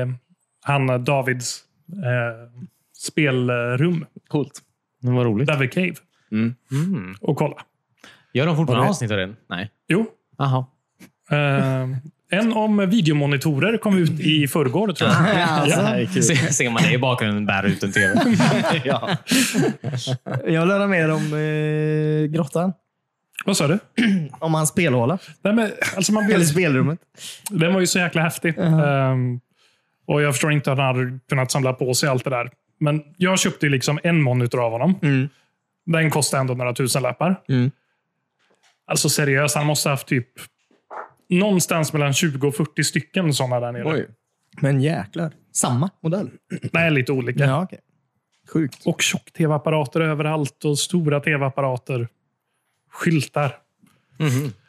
Speaker 1: han Davids eh, spelrum,
Speaker 4: Coolt.
Speaker 3: Det var roligt. Mm.
Speaker 1: David Cave, och kolla.
Speaker 3: Gör de
Speaker 1: Var
Speaker 3: fortfarande
Speaker 1: det-
Speaker 3: avsnitt av den? Nej.
Speaker 1: Jo,
Speaker 3: Jaha.
Speaker 1: eh, en om videomonitorer kom ut i förrgår, tror jag.
Speaker 2: Alltså,
Speaker 3: Se- Ser man det i bakgrunden bär ut en tv.
Speaker 2: jag vill höra mer om eh, grottan.
Speaker 1: Vad sa du?
Speaker 2: Om hans spelhåla.
Speaker 1: Nej, men, alltså man
Speaker 2: Eller
Speaker 1: vill,
Speaker 2: spelrummet.
Speaker 1: den var ju så jäkla häftig. Ehm, och jag förstår inte hur han hade kunnat samla på sig allt det där. Men jag köpte ju liksom en monitor av honom. Den kostar ändå några tusen lappar.
Speaker 2: Mm.
Speaker 1: Alltså seriöst, han måste ha haft typ någonstans mellan 20 och 40 stycken sådana där nere.
Speaker 2: Men jäklar. Samma modell?
Speaker 1: Nej, lite olika.
Speaker 2: Ja, okej. Sjukt.
Speaker 1: Och tjock-tv-apparater överallt och stora tv-apparater. Skyltar.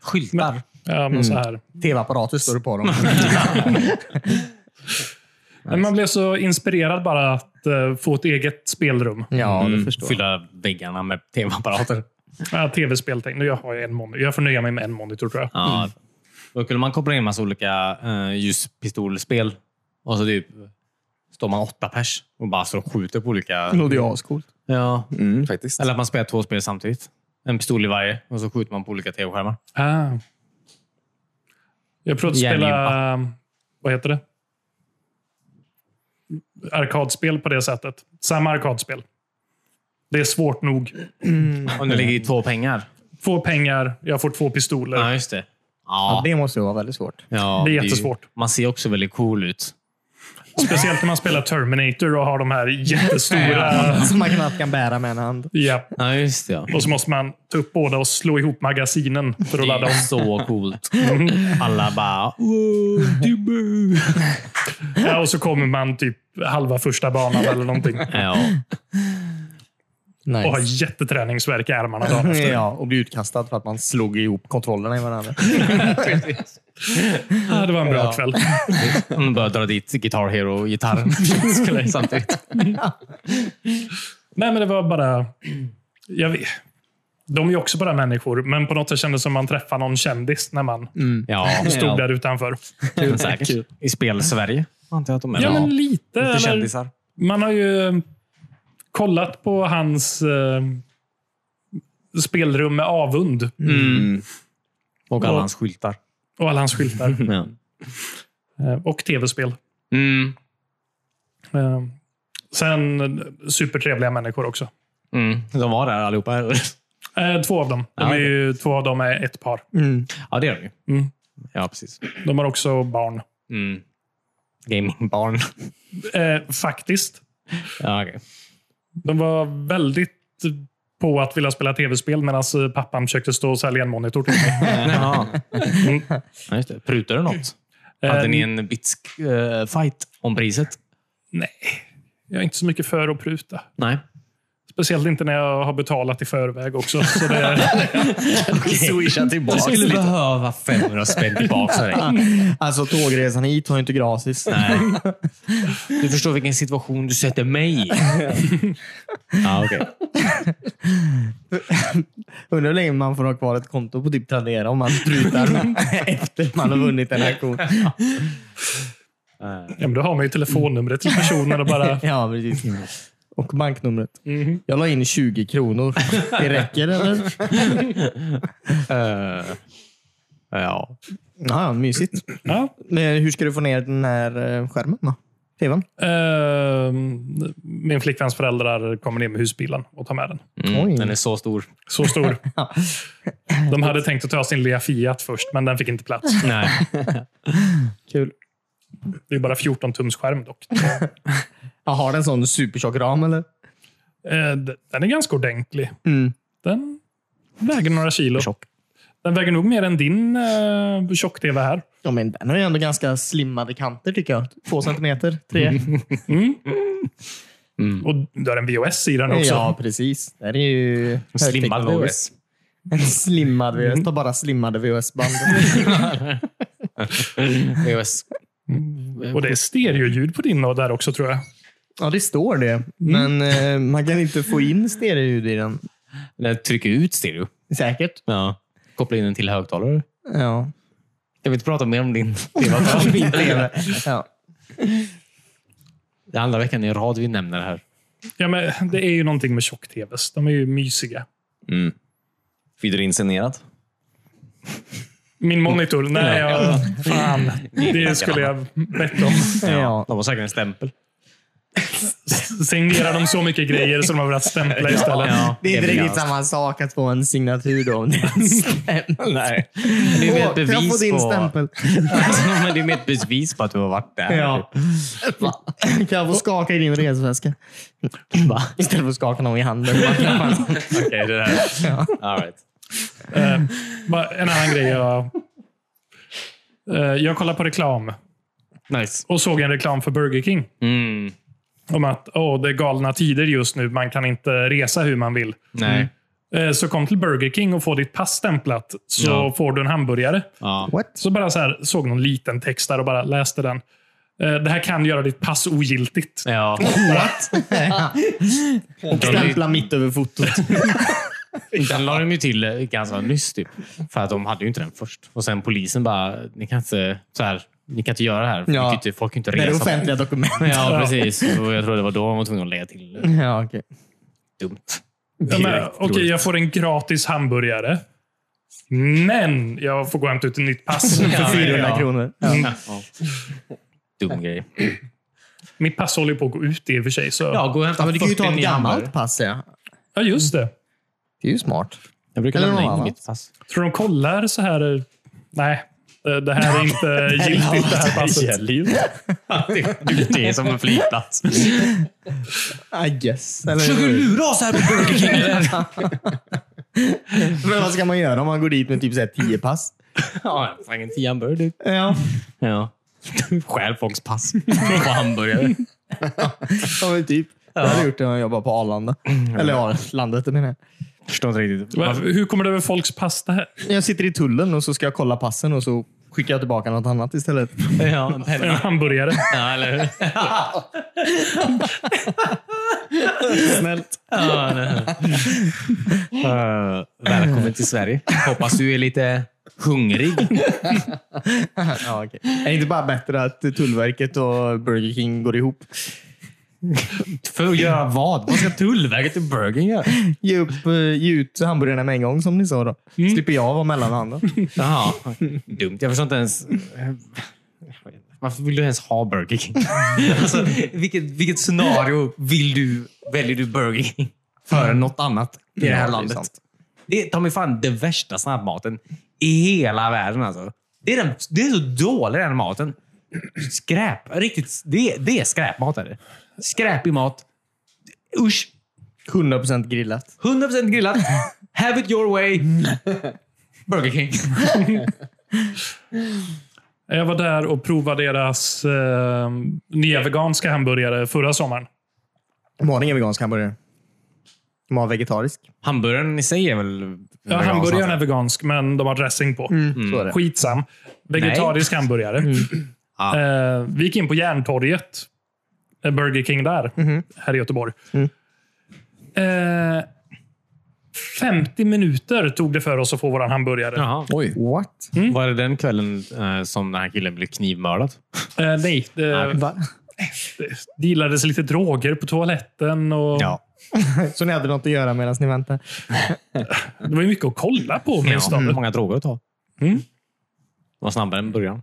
Speaker 5: Skyltar.
Speaker 1: Ja, men så här.
Speaker 2: Tv-apparater står det på dem.
Speaker 1: Men man blev så inspirerad bara att eh, få ett eget spelrum.
Speaker 2: ja, det förstår jag.
Speaker 3: Fylla väggarna med tv-apparater.
Speaker 1: Ja, tv-spel. tänk- Nu jag har jag en monitor. Jag får nöja mig med en monitor tror jag.
Speaker 3: Ja. Då kunde man koppla in massa olika eh, ljuspistolspel. Och så typ står man åtta pers och bara står och skjuter på olika...
Speaker 2: Det låter ju ascoolt.
Speaker 3: Ja.
Speaker 4: Mm, faktiskt.
Speaker 3: Eller att man spelar två spel samtidigt. En pistol i varje och så skjuter man på olika tv-skärmar.
Speaker 1: Ah. Jag provade att spela...
Speaker 3: Järngympa.
Speaker 1: Vad heter det? Arkadspel på det sättet. Samma arkadspel. Det är svårt nog.
Speaker 3: Och nu ligger i två pengar.
Speaker 1: Få pengar, jag får två pistoler.
Speaker 3: Ja, just det.
Speaker 2: Ja.
Speaker 3: Ja,
Speaker 2: Det måste ju vara väldigt svårt.
Speaker 3: ja,
Speaker 1: det är
Speaker 3: ju-
Speaker 1: jättesvårt.
Speaker 3: Man ser också väldigt cool ut.
Speaker 1: Speciellt när man spelar Terminator och har de här jättestora...
Speaker 2: Som man knappt kan bära med en hand.
Speaker 1: ja.
Speaker 3: Ja, just det. Ja.
Speaker 1: Och så måste man ta upp båda och slå ihop magasinen för att
Speaker 3: Det
Speaker 1: ladda
Speaker 3: är
Speaker 1: om.
Speaker 3: så coolt. Alla bara... "Wow, Dibbo."
Speaker 1: Ja, och så kommer man typ halva första banan eller någonting.
Speaker 3: Ja.
Speaker 1: Och har
Speaker 2: Nice.
Speaker 1: jätteträningsvärk i armarna dagen efter.
Speaker 2: Ja, och bli utkastad för att man slog ihop kontrollerna i varandra.
Speaker 1: Ja, det var en bra
Speaker 2: Ja.
Speaker 1: kväll.
Speaker 3: Hon börjar dra dit Guitar Hero-gitarren Skulle jag- samtidigt.
Speaker 1: Nej, men det var bara... Jag vet. De är ju också bara människor, men på något sätt kändes det som man träffar någon kändis när man
Speaker 3: Mm. Ja,
Speaker 1: stod där utanför.
Speaker 3: Men säkert. I spel-Sverige antar jag att de är.
Speaker 1: Ja, men lite.
Speaker 3: Lite
Speaker 1: Eller,
Speaker 3: kändisar.
Speaker 1: man har ju eh, kollat på hans eh, spelrum med avund
Speaker 3: Mm. Och alla hans skyltar.
Speaker 1: och alla hans skyltar.
Speaker 3: Ja.
Speaker 1: Eh, och tv-spel.
Speaker 3: Mm.
Speaker 1: Eh, sen eh, supertrevliga människor också.
Speaker 3: Mm. De var där allihopa. eller?
Speaker 1: Eh, två av dem. De
Speaker 3: Ja,
Speaker 1: är ju, två av dem är ett par.
Speaker 3: Ja, det är de ju.
Speaker 1: Mm.
Speaker 3: Ja, precis.
Speaker 1: De har också barn.
Speaker 3: Mm. Gamingbarn.
Speaker 1: Eh, faktiskt.
Speaker 3: Ja, okej.
Speaker 1: De var väldigt på att vilja spela tv-spel medan eh, pappan försökte stå och sälja en monitor till mig.
Speaker 3: Ja. Mm. Ja, just det. Prutar du något?
Speaker 1: Ehm.
Speaker 3: Hade ni en bitsk eh, fight om priset?
Speaker 1: Nej, jag är inte så mycket för att pruta.
Speaker 3: Nej.
Speaker 1: Speciellt inte när jag har betalat i förväg också. Så det,
Speaker 4: Swisha tillbaka
Speaker 3: Jag skulle
Speaker 4: lite.
Speaker 3: behöva 500 spänn tillbaka för dig.
Speaker 2: Alltså tågresan hit var ju inte gratis.
Speaker 3: Du förstår vilken situation du sätter mig i. Ja, okej.
Speaker 2: Undrar hur länge man får ha kvar ett konto på typ Tradera om man prutar efter man har vunnit en auktion.
Speaker 1: ja, men då har man ju telefonnumret till personen och bara...
Speaker 2: Ja, Mhm. precis. Och banknumret. Jag la in 20 kronor. Det räcker eller?
Speaker 3: Eh, ja.
Speaker 2: Ja, mysigt.
Speaker 1: Ja.
Speaker 2: Men hur ska du få ner den här eh, skärmen då? TVn?
Speaker 1: Ehm, min flickväns föräldrar kommer ner med husbilen och tar med den.
Speaker 2: Oj.
Speaker 3: Mm, den är så stor.
Speaker 1: Så stor. De hade tänkt att ta sin Lea Fiat först, men den fick inte plats.
Speaker 3: Nej.
Speaker 2: Kul.
Speaker 1: Det är bara 14 tums skärm dock.
Speaker 2: Jag har den en sån supertjock ram eller?
Speaker 1: Eh, d- Den är ganska ordentlig.
Speaker 2: Mm.
Speaker 1: Den väger några kilo. Den väger nog mer än din eh, tjock-tv här.
Speaker 2: Ja, men den har ju ändå ganska slimmade kanter tycker jag. Två centimeter, tre.
Speaker 1: Och du har en VHS i den också.
Speaker 2: Ja, precis. Det här är ju...
Speaker 3: Slimmad
Speaker 2: högteknisk
Speaker 3: VHS.
Speaker 2: En slimmad VHS. Ta bara slimmade VHS-band.
Speaker 3: VHS.
Speaker 1: Och det är stereoljud på din och där också tror jag.
Speaker 2: ja, det står
Speaker 3: Mm.
Speaker 2: det. Men eh, man kan inte få in stereoljud i den.
Speaker 3: Eller trycka ut stereo.
Speaker 2: Säkert.
Speaker 3: Ja. Koppla in den till högtalare.
Speaker 2: Ja.
Speaker 3: Jag vill inte prata mer om din
Speaker 2: Min TV. ja.
Speaker 3: Det är andra veckan i rad vi nämner det här.
Speaker 1: Ja, men det är ju någonting med tjock-tvs. De är ju mysiga.
Speaker 4: Mm. Fick du det inscenerat?
Speaker 1: Min monitor? Nej, jag, fan. Det skulle jag bett om.
Speaker 2: Ja.
Speaker 3: De har säkert en stämpel.
Speaker 1: signerar de så mycket grejer som de har velat stämpla istället.
Speaker 3: Ja,
Speaker 2: Det är inte
Speaker 3: blir
Speaker 2: riktigt
Speaker 3: ganska-
Speaker 2: samma sak att få en signatur då. om det är en stämpel.
Speaker 3: Nej. Men Det är mer
Speaker 2: Åh,
Speaker 3: ett
Speaker 2: kan jag få
Speaker 3: bevis
Speaker 2: din
Speaker 3: på...
Speaker 2: stämpel?
Speaker 3: Alltså, men det är mer ett bevis på att du har varit där.
Speaker 2: Ja. Va? Kan jag få skaka i din resväska? Va? Istället för att skaka någon i handen.
Speaker 3: Okej, det där.
Speaker 2: Ja.
Speaker 3: All right.
Speaker 1: Eh, bara en annan grej. Jag, eh, jag kollade på reklam
Speaker 3: Nice.
Speaker 1: och såg en reklam för Burger King.
Speaker 3: Mm.
Speaker 1: Om att åh, det är galna tider just nu. Man kan inte resa hur man vill.
Speaker 3: Nej.
Speaker 1: Eh, Så kom till Burger King och få ditt pass stämplat så
Speaker 3: Ja.
Speaker 1: får du en hamburgare.
Speaker 3: Ja.
Speaker 2: What?
Speaker 1: Så bara så här, såg någon liten text där och bara läste den. Eh, Det här kan göra ditt pass ogiltigt.
Speaker 3: Ja.
Speaker 2: Och stämpla mitt över fotot.
Speaker 3: Den la de ju till eh, ganska nyss. Typ. För att de hade ju inte den först. Och sen polisen bara, ni kan inte, så här, ni kan inte göra det här. Ni
Speaker 2: Ja.
Speaker 3: kan inte, folk kan inte
Speaker 2: Det är
Speaker 3: resa.
Speaker 2: offentliga dokument.
Speaker 3: Ja, precis. Och jag tror det var då de var tvungna att lägga till. eh,
Speaker 2: Ja, okej.
Speaker 3: Dumt.
Speaker 1: Ja, men,
Speaker 3: Direkt
Speaker 1: Okej,
Speaker 3: dåligt.
Speaker 1: jag får en gratis hamburgare. Men jag får gå och hämta ut ett nytt pass.
Speaker 3: Ja,
Speaker 2: För
Speaker 3: men,
Speaker 2: 400
Speaker 3: ja.
Speaker 2: kronor. Mm.
Speaker 3: Ja. Dum grej.
Speaker 1: Mitt pass håller ju på att gå ut i och för sig. Så.
Speaker 3: Ja,
Speaker 1: Ja.
Speaker 3: gå och hämta
Speaker 2: Ja, men du kan ju ta
Speaker 3: 40
Speaker 2: ett
Speaker 3: nya
Speaker 2: gammalt
Speaker 3: hamburgare.
Speaker 2: pass. Ja.
Speaker 1: just det.
Speaker 2: Det är ju smart.
Speaker 3: Jag brukar
Speaker 2: Eller någon
Speaker 3: lämna in
Speaker 2: annan.
Speaker 3: mitt pass.
Speaker 1: Tror de kollar så här? eh, Nej, eh, det det här är inte giltigt det här passet.
Speaker 3: ju Det är som en flygplats.
Speaker 2: I guess.
Speaker 5: Försöker du lura oss här på Burger King? eller?
Speaker 2: Men vad ska man göra om man går dit med typ så här 10 pass?
Speaker 3: Ja, en tian bör du.
Speaker 2: Ja.
Speaker 3: Ja. Stjäl folks pass på hamburgare.
Speaker 2: ja Mm. men typ. Jag hade gjort det om jag jobbade på Arlanda. Eller ja, Landvetter menar jag.
Speaker 3: Förstår inte riktigt.
Speaker 1: Va- Hur kommer det över folks pass? Det här?
Speaker 2: Jag sitter i tullen och så ska jag kolla passen och så skickar jag tillbaka något annat istället.
Speaker 3: Ja,
Speaker 1: En Eh, hamburgare.
Speaker 3: ja, eller hur?
Speaker 2: Snällt.
Speaker 3: Ja, nej. Eh, välkommen till Sverige. Hoppas du är lite hungrig.
Speaker 2: Ja, okej. Är det inte bara bättre att Tullverket och Burger King går ihop?
Speaker 3: För att göra vad? Vad ska Tullverket och Burger göra?
Speaker 2: Ge, upp, eh, ge ut hamburgarna med en gång som ni sa då. Slipper jag vara mellanhanden.
Speaker 3: Jaha, dumt. Jag förstår inte ens. Varför vill du ens ha Burger King? Alltså, vilket, vilket scenario vill du, väljer du Burger King före något annat i det
Speaker 2: Mm. Ja,
Speaker 3: här
Speaker 2: det är
Speaker 3: landet?
Speaker 2: sant.
Speaker 3: Det är ta mig fan den värsta snabbmaten i hela världen. Alltså. Det, är den, det är så dålig den maten. Skräp. Riktigt, det, är- det är skräpmat. Är det. Skräpig mat. Usch.
Speaker 2: 100% grillat.
Speaker 3: 100% grillat. Have it your way. Burger King.
Speaker 1: Jag var där och provade deras eh, nya veganska hamburgare förra sommaren.
Speaker 2: De har ingen vegansk hamburgare. De har vegetarisk.
Speaker 3: Hamburgaren i sig är väl...
Speaker 1: Ja, hamburgaren är vegansk, men de har dressing på.
Speaker 2: Så är det.
Speaker 1: Skitsam. Vegetarisk hamburgare.
Speaker 3: Mm. Ja.
Speaker 1: Eh, vi gick in på Järntorget. eh, Burger King där,
Speaker 3: Mhm.
Speaker 1: här i Göteborg.
Speaker 3: Mm.
Speaker 1: Eh, 50 minuter tog det för oss att få vår hamburgare.
Speaker 3: Jaha.
Speaker 4: Oj.
Speaker 2: What?
Speaker 3: Var det den kvällen eh, som den här killen blev knivmördad?
Speaker 1: Eh, nej, det,
Speaker 2: Va?
Speaker 1: det gillades lite droger på toaletten. Och
Speaker 2: Så ni hade något att göra medan ni väntar?
Speaker 1: Det var ju mycket att kolla på
Speaker 3: ja. Mm.
Speaker 1: åtminstone.
Speaker 3: Många droger att ta. Mm. Var snabbare än början.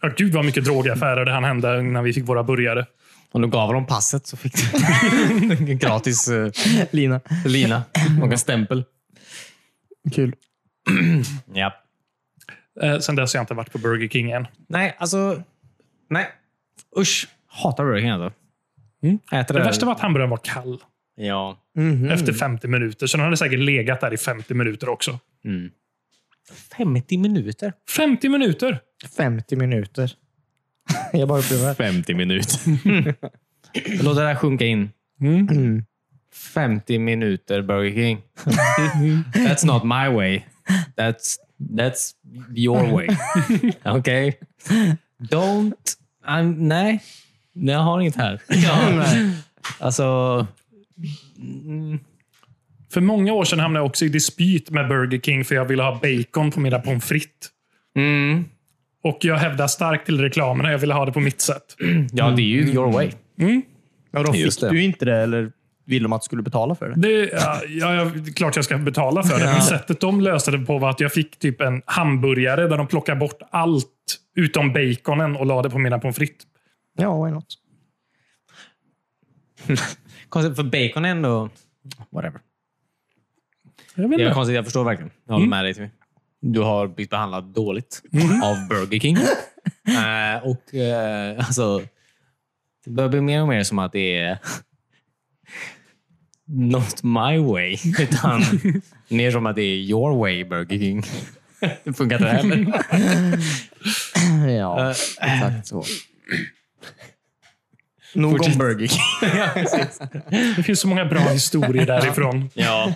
Speaker 1: Ja, Gud vad mycket drogaffärer det han hände innan vi fick våra burgare.
Speaker 3: Om du gav dem passet så fick du en gratis eh,
Speaker 2: Lina.
Speaker 3: lina och en stämpel.
Speaker 2: Kul.
Speaker 3: Ja.
Speaker 1: Eh, sen dess har jag inte varit på Burger King än.
Speaker 3: Nej, alltså... Nej. Usch. Hatar Burger King alltså. Äter
Speaker 1: Det värsta var att hamburgaren var kall
Speaker 3: Ja. Mm.
Speaker 1: efter 50 minuter. Så den hade säkert legat där i 50 minuter också.
Speaker 3: 50 minuter.
Speaker 1: 50 minuter!
Speaker 2: 50 minuter. Jag bara upplever.
Speaker 3: 50 minuter. Låt det där sjunka in. Mm. 50 minuter Burger King. That's not my way. That's, that's your way. Okej? Don't... I'm, nej. Nej, Jag har inget här. Ja. Alltså...
Speaker 1: För många år sedan hamnade jag också i dispyt med Burger King för jag ville ha bacon på mina pommes frites.
Speaker 3: Mm,
Speaker 1: Och jag hävdar starkt till reklamen att jag ville ha det på mitt sätt.
Speaker 3: ja, det är ju your way.
Speaker 2: Ja, då
Speaker 4: Just
Speaker 2: fick
Speaker 4: det.
Speaker 2: du inte det eller ville de att du skulle betala för det?
Speaker 1: Det, ja, ja, ja, det är klart jag ska betala för det, men sättet de löste det på var att jag fick typ en hamburgare där de plockade bort allt utom baconen och la det på mina pommes frites.
Speaker 2: Ja, why not?
Speaker 3: Konstigt, för bacon är ändå... Whatever.
Speaker 1: Jag vet
Speaker 3: Det är
Speaker 1: inte.
Speaker 3: konstigt, jag förstår verkligen. Mm. Jag håller med dig Timmy. Du har blivit behandlad dåligt av Burger King. Eh, och eh, alltså, Det börjar bli mer och mer som att det är not my way. Utan mer som att det är your way Burger King. det funkar inte heller.
Speaker 2: ja, exakt så. Nog om Burger King.
Speaker 1: Det finns så många bra historier därifrån.
Speaker 3: ja.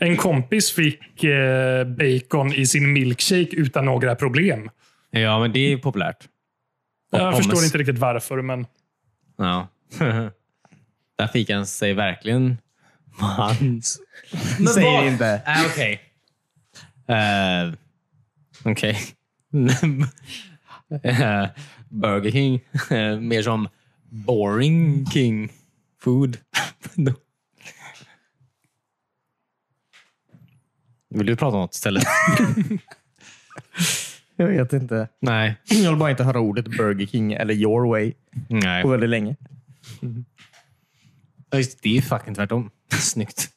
Speaker 1: En kompis fick eh, bacon i sin milkshake utan några problem.
Speaker 3: ja, men det är populärt. Och
Speaker 1: Jag
Speaker 3: pommes.
Speaker 1: förstår inte riktigt varför, men
Speaker 3: Ja. Där fick han sig verkligen man.
Speaker 2: Säg det inte.
Speaker 3: Ah, Okej. Eh, Okej. Eh, Burger King. Eh, mer som boring king food. Vill du prata om något istället?
Speaker 2: Jag vet inte.
Speaker 3: Nej.
Speaker 2: Jag vill bara inte höra ordet Burger King eller your way
Speaker 3: Nej.
Speaker 2: på väldigt länge.
Speaker 3: Ja, just Det det är fucking tvärtom. Snyggt.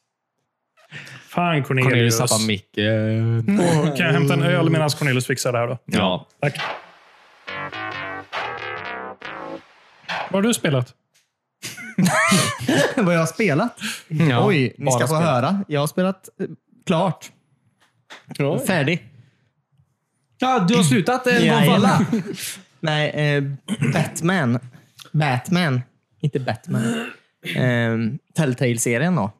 Speaker 1: fan
Speaker 3: Cornelius
Speaker 1: Cornelius.
Speaker 3: tappar micken.
Speaker 1: Åh, kan jag hämta en öl medan Cornelius fixar det här då?
Speaker 4: Ja.
Speaker 1: Tack. Vad har du spelat?
Speaker 2: Vad jag har spelat?
Speaker 3: Ja,
Speaker 2: Oj, ni ska
Speaker 3: bara
Speaker 2: få
Speaker 3: spel.
Speaker 2: höra. Jag har spelat eh, klart. Färdig.
Speaker 5: Ja, du har slutat
Speaker 3: eh,
Speaker 5: en gång för
Speaker 2: Jajamän.
Speaker 5: alla.
Speaker 2: Nej, eh, Batman. Batman. Inte Batman. Eh, Telltale-serien då.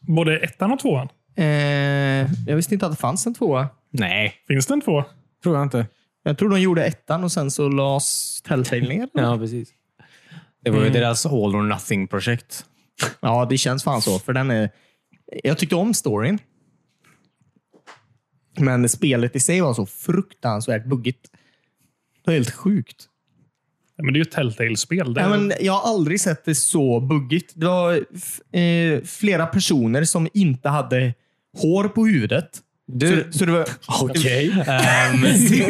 Speaker 1: Både ettan och tvåan?
Speaker 2: Eh, jag visste inte att det fanns en tvåa.
Speaker 3: Nej,
Speaker 1: Finns det en två?
Speaker 3: tror jag inte.
Speaker 2: Jag tror de gjorde ettan och sen så lades Telltale ner.
Speaker 3: Ja, precis. Det var ju deras all or nothing-projekt.
Speaker 2: Ja, det känns fan så. För den är... Jag tyckte om storyn. Men spelet i sig var så fruktansvärt buggigt. Det var helt sjukt.
Speaker 1: Ja, men det är ju ett Telltale-spel. Det
Speaker 2: Ja,
Speaker 1: är-
Speaker 2: men jag har aldrig sett det så buggigt. Det var f- eh, flera personer som inte hade hår på huvudet. Så, så det var...
Speaker 3: Okej.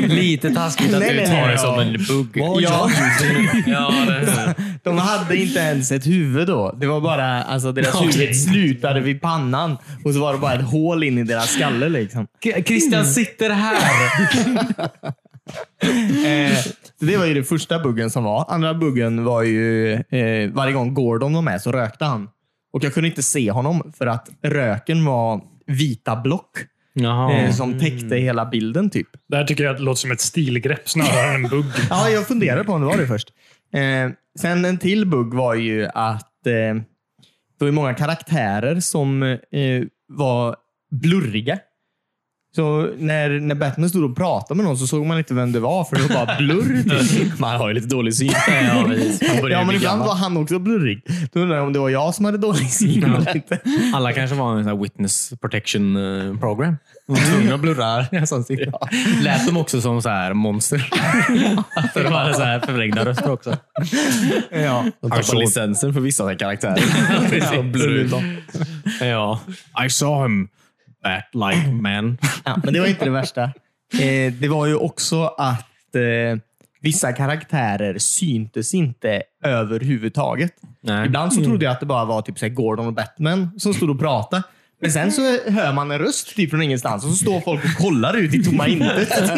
Speaker 3: lite taskigt att
Speaker 2: Nej,
Speaker 3: du
Speaker 2: nej,
Speaker 3: tar
Speaker 2: nej,
Speaker 3: det som
Speaker 2: ja.
Speaker 3: en bugg.
Speaker 2: Ja,
Speaker 3: Ja, det-
Speaker 2: de hade inte ens ett huvud då. Det var bara, alltså deras huvud slutade vid pannan och så var det bara ett hål in i deras skalle. Liksom.
Speaker 5: K- Christian sitter här.
Speaker 2: Eh, så det var ju den första buggen som var. Andra buggen var ju eh, varje gång Gordon var med så rökte han. Och jag kunde inte se honom för att röken var vita block eh,
Speaker 3: Jaha.
Speaker 2: som täckte
Speaker 5: Mm.
Speaker 2: hela bilden typ.
Speaker 1: Det här tycker jag låter som ett stilgrepp snarare än en bugg.
Speaker 2: Ja, jag funderade på om det var det först. Eh, sen en till bugg var ju att eh, det var ju många karaktärer som eh, var blurriga. Så när, när Batman stod och pratade med någon så såg man inte vem det var, för det var bara blurr. typ.
Speaker 3: Man har ju lite dålig syn. Ja, precis. Man börjar
Speaker 2: ja, men
Speaker 3: bli
Speaker 2: ibland
Speaker 3: gammal.
Speaker 2: var han också blurrig. Då undrar jag om det var jag som hade dålig syn eller inte.
Speaker 3: Alla kanske var en sån här witness protection eh, program. De var tvungna att blurra i hans ansikte. Lät de också som så här monster? Att de hade så här förvrängda röster också.
Speaker 2: Ja.
Speaker 4: De tappar
Speaker 3: Alltså-
Speaker 4: licensen för vissa karaktärer.
Speaker 3: Ja. I saw him. Bat like man.
Speaker 2: Ja, men det var inte det värsta. Eh, det var ju också att eh, vissa karaktärer syntes inte överhuvudtaget.
Speaker 3: Nej.
Speaker 2: Ibland så trodde jag att det bara var typ så här Gordon och Batman som stod och pratade. Men sen så hör man en röst typ från ingenstans och så står folk och kollar ut i tomma intet.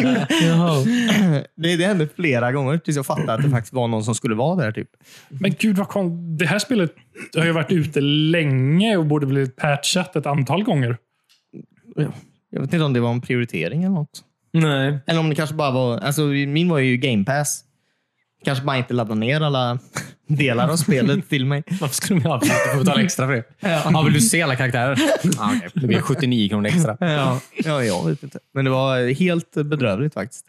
Speaker 2: Det, det hände flera gånger tills jag fattade att det faktiskt var någon som skulle vara där. Typ.
Speaker 1: Men gud, vad kon... det här spelet har ju varit ute länge och borde blivit patchat ett antal gånger.
Speaker 2: Jag vet inte om det var en prioritering eller något.
Speaker 3: Nej.
Speaker 2: Eller om det kanske bara var... Alltså, min var ju Game Pass. Kanske bara inte laddade ner alla delar av spelet till mig.
Speaker 3: Varför skulle de avbryta? Du får betala extra för det. Ja, vill du se alla karaktärer? Ah, okej. Det blir 79 kronor extra.
Speaker 2: Ja, ja, jag vet inte. Men det var helt bedrövligt faktiskt.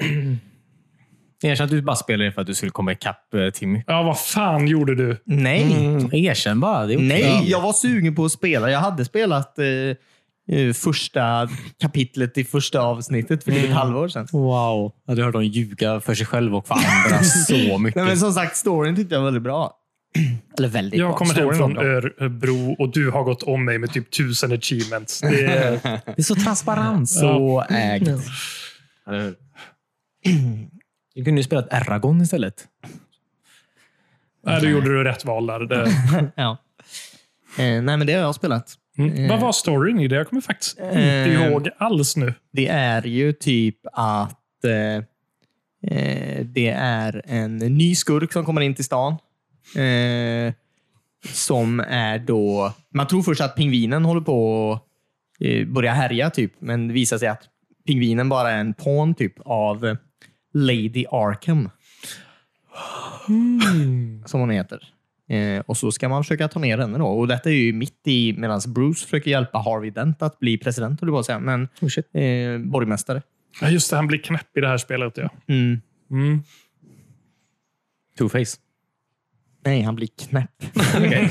Speaker 3: Erkänn att du bara spelade för att du skulle komma ikapp eh, Timmy.
Speaker 1: Ja, vad fan gjorde du?
Speaker 2: Nej,
Speaker 3: Mm. Erkänn bara. Det är okej.
Speaker 2: nej. Jag var sugen på att spela. Jag hade spelat eh, eh, första kapitlet i första avsnittet för typ ett halvår sedan.
Speaker 3: Wow. Jag hade hört dem ljuga för sig själv och för andra så mycket.
Speaker 2: Nej, men som sagt, storyn tyckte jag var väldigt bra. Eller väldigt
Speaker 1: Jag
Speaker 2: bra.
Speaker 1: kommer hem
Speaker 2: Storyn
Speaker 1: från
Speaker 2: var bra.
Speaker 1: Örebro och du har gått om mig med typ tusen achievements. Det är...
Speaker 3: Det är så transparens.
Speaker 2: Så ägt.
Speaker 3: Du kunde ju spela ett Eragon istället.
Speaker 1: Nej, då gjorde du rätt val där. Det,
Speaker 2: Ja. Eh, nej, men det har jag spelat.
Speaker 1: mm. Vad var storyn i det? Jag kommer faktiskt inte
Speaker 2: Eh.
Speaker 1: ihåg alls nu.
Speaker 2: Det är ju typ att eh, eh, det är en ny skurk som kommer in till stan. Eh, som är då... Man tror först att pingvinen håller på att eh, börja härja, typ. men det visar sig att pingvinen bara är en pawn typ, av eh, Lady Arkham, som hon heter. Eh, och så ska man försöka ta ner henne. Då. Och Detta är ju mitt i medan Bruce försöker hjälpa Harvey Dent att bli president, höll jag på att säga. Men eh, borgmästare.
Speaker 1: Ja, just det, han blir knäpp i det här spelet. Ja.
Speaker 2: Mm.
Speaker 1: Mm.
Speaker 3: Two-face.
Speaker 2: Nej, han blir knäpp. Mm,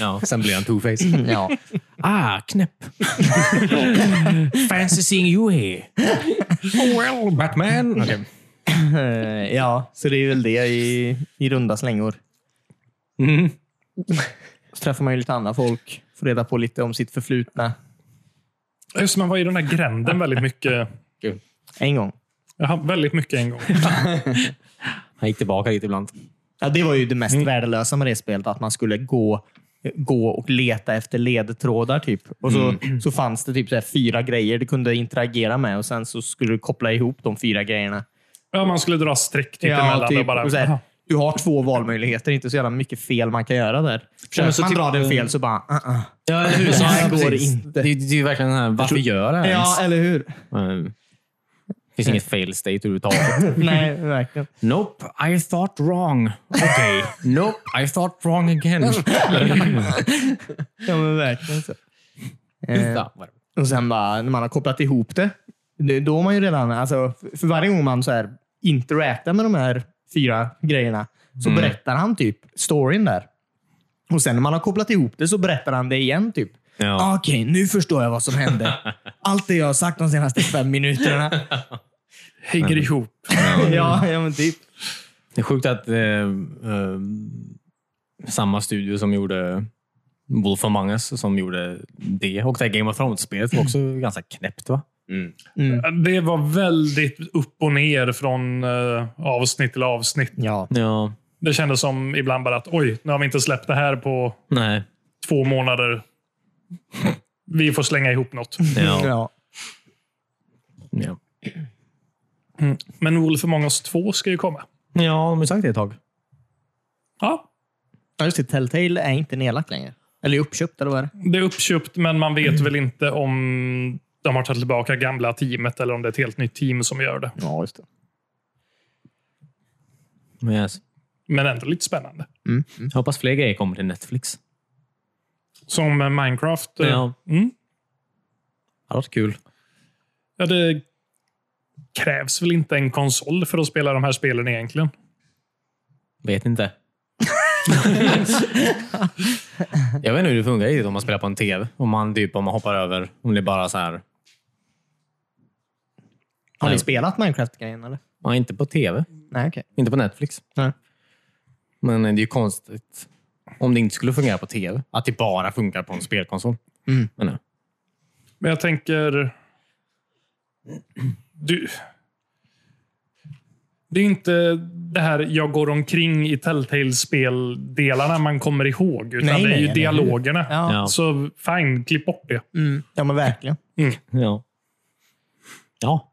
Speaker 3: Ja. Sen blir han two-face.
Speaker 2: ja.
Speaker 3: Ah, knäpp. Fancy seeing you here. Mm. Well, Batman. Okay.
Speaker 2: Eh, ja, så det är väl det i, i runda slängor.
Speaker 3: Mm.
Speaker 2: Så träffar man ju lite andra folk, får reda på lite om sitt förflutna.
Speaker 1: Just det, man var i den här gränden väldigt mycket.
Speaker 2: En gång.
Speaker 1: Jaha, väldigt mycket en gång.
Speaker 3: Han gick tillbaka lite ibland.
Speaker 2: Ja, det var ju det mest
Speaker 3: Mm.
Speaker 2: värdelösa med det spelet, att man skulle gå, gå och leta efter ledtrådar. Typ. Och så,
Speaker 3: Mm.
Speaker 2: så fanns det typ så här fyra grejer du kunde interagera med och sen så skulle du koppla ihop de fyra grejerna.
Speaker 1: Ja, man skulle dra streck typ emellan. och bara,
Speaker 2: och så här,
Speaker 1: aha.
Speaker 2: du har två valmöjligheter, inte så jävla mycket fel man kan göra där. Försöker
Speaker 3: men så
Speaker 2: man
Speaker 3: typ-
Speaker 2: dra den fel så bara... Uh -uh.
Speaker 3: Ja, eller hur? Så
Speaker 2: Det här
Speaker 3: han-
Speaker 2: går
Speaker 3: precis.
Speaker 2: inte.
Speaker 3: Det, det är ju verkligen den här, varför gör det här ens?
Speaker 2: Ja, eller hur?
Speaker 3: Mm. Det finns inget fail state överhuvudtaget.
Speaker 2: Nej, verkligen.
Speaker 3: nope, I thought wrong. Okej. Nope, I thought wrong again. Eh.
Speaker 2: Ja, men verkligen så. Eh,
Speaker 3: Så.
Speaker 2: och sen bara, när man har kopplat ihop det, det- då har man ju redan... Alltså, för- för varje gång man så här interactar med de här fyra grejerna så
Speaker 3: Mm.
Speaker 2: berättar han typ storyn där. Och sen när man har kopplat ihop det så berättar han det igen. typ.
Speaker 3: Ja.
Speaker 2: Ah, Okej, nu förstår jag vad som hände. Allt det jag har sagt de senaste fem minuterna.
Speaker 1: hänger
Speaker 2: Mm.
Speaker 1: ihop.
Speaker 3: Mm.
Speaker 2: ja, ja, men typ.
Speaker 3: Det är sjukt att eh, eh, samma studio som gjorde Wolf Among Us, som gjorde det och det här Game of Thrones-spelet var också ganska knäppt. va?
Speaker 1: Det var väldigt upp och ner från eh, avsnitt till avsnitt.
Speaker 2: Ja.
Speaker 3: Ja.
Speaker 1: Det kändes som ibland bara att oj, nu har vi inte släppt det här på
Speaker 3: Nej.
Speaker 1: två månader. Vi får slänga ihop något.
Speaker 3: Ja.
Speaker 2: Ja.
Speaker 3: Ja.
Speaker 1: Men Wolf Among Us 2 ska ju komma.
Speaker 3: ja, de har ju sagt det ett tag.
Speaker 1: Ja,
Speaker 2: Ja, just det. Telltale är inte nedlagt längre. Eller uppköpt, eller vad är det?
Speaker 1: det är uppköpt, men man vet väl inte om de har tagit tillbaka gamla teamet eller om det är ett helt nytt team som gör det.
Speaker 2: Ja, just det.
Speaker 3: Men yes.
Speaker 1: Men ändå lite spännande.
Speaker 3: Jag hoppas fler grejer kommer till Netflix.
Speaker 1: Som eh, Minecraft. eh,
Speaker 3: Ja.
Speaker 1: Mm.
Speaker 3: Det hade varit kul.
Speaker 1: Ja, det krävs väl inte en konsol för att spela de här spelen egentligen.
Speaker 3: Vet inte. jag vet inte hur det funkar riktigt om man spelar på en tv. Om man, typ, om man hoppar över. Om det bara så här.
Speaker 2: Har ni
Speaker 3: Nej.
Speaker 2: spelat Minecraft-grejen, eller?
Speaker 3: Ja, inte på tv.
Speaker 2: Nej, okej.
Speaker 3: Inte på Netflix.
Speaker 2: Nej.
Speaker 3: Men eh, det är ju konstigt om det inte skulle fungera på tv. Att det bara funkar på en spelkonsol.
Speaker 2: Mm.
Speaker 3: Men, eh, nej.
Speaker 1: Men jag tänker... Du... Det är inte det här jag går omkring i Telltale-speldelarna man kommer ihåg, utan
Speaker 2: Nej,
Speaker 1: det är
Speaker 2: nej,
Speaker 1: ju
Speaker 2: eller hur?
Speaker 1: dialogerna.
Speaker 2: Ja.
Speaker 3: Ja.
Speaker 1: Så fine, klipp bort det.
Speaker 2: Mm. Ja, men verkligen.
Speaker 3: Ja. ja.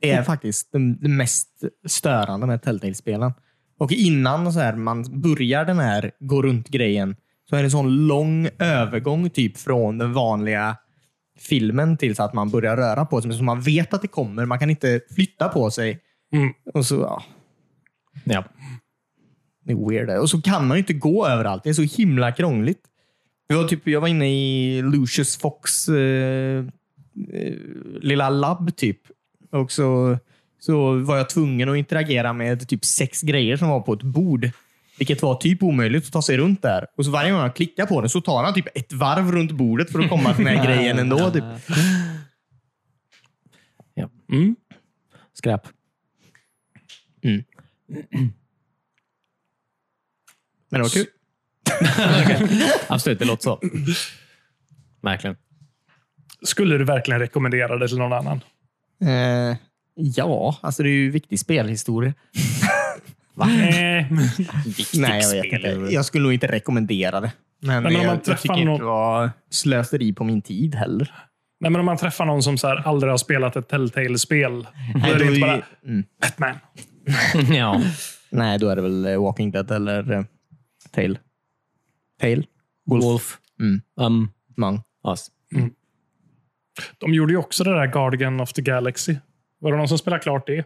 Speaker 2: Det är faktiskt det, det mest störande med Telltale-spelen. Och innan så här, man börjar den här gå runt-grejen så är det en sån lång övergång typ från den vanliga filmen till så att man börjar röra på sig. Men Så man vet att det kommer. Man kan inte flytta på sig.
Speaker 1: Mm.
Speaker 2: Och så, ja,
Speaker 3: ja.
Speaker 2: Det är weird. Och så kan man ju inte gå överallt. Det är så himla krångligt. Jag var, typ, jag var inne i Lucius Fox eh, eh, lilla labb typ. Och så, så var jag tvungen att interagera med typ sex grejer som var på ett bord. Vilket var typ omöjligt att ta sig runt där. Och så varje gång jag klickar på den så tar han typ ett varv runt bordet för att komma till den här grejen ändå. Typ.
Speaker 1: Mm.
Speaker 3: Skräp.
Speaker 2: Men det var kul.
Speaker 3: Absolut, det låter så. Verkligen.
Speaker 1: Skulle du verkligen rekommendera det till någon annan?
Speaker 2: Eh, ja, alltså det är ju viktig spelhistoria.
Speaker 1: Nej, men-
Speaker 2: Nej, jag vet inte. Jag skulle nog inte rekommendera det. Men,
Speaker 1: men om
Speaker 2: jag,
Speaker 1: man
Speaker 2: jag
Speaker 1: träffar
Speaker 2: tycker inte
Speaker 1: någon-
Speaker 2: det var slöseri på min tid heller.
Speaker 1: nej, men om man träffar någon som så här aldrig har spelat ett Telltale-spel, då
Speaker 2: Nej,
Speaker 1: är det
Speaker 2: då
Speaker 1: inte
Speaker 2: är- mm.
Speaker 1: bara Batman.
Speaker 3: ja.
Speaker 2: Nej, då är det väl eh, Walking Dead eller eh, Tail. Tail?
Speaker 3: Wolf.
Speaker 2: Mm.
Speaker 3: Um,
Speaker 2: Mang.
Speaker 3: us.
Speaker 1: De gjorde ju också det där Guardian of the Galaxy. Var det någon som spelade klart det?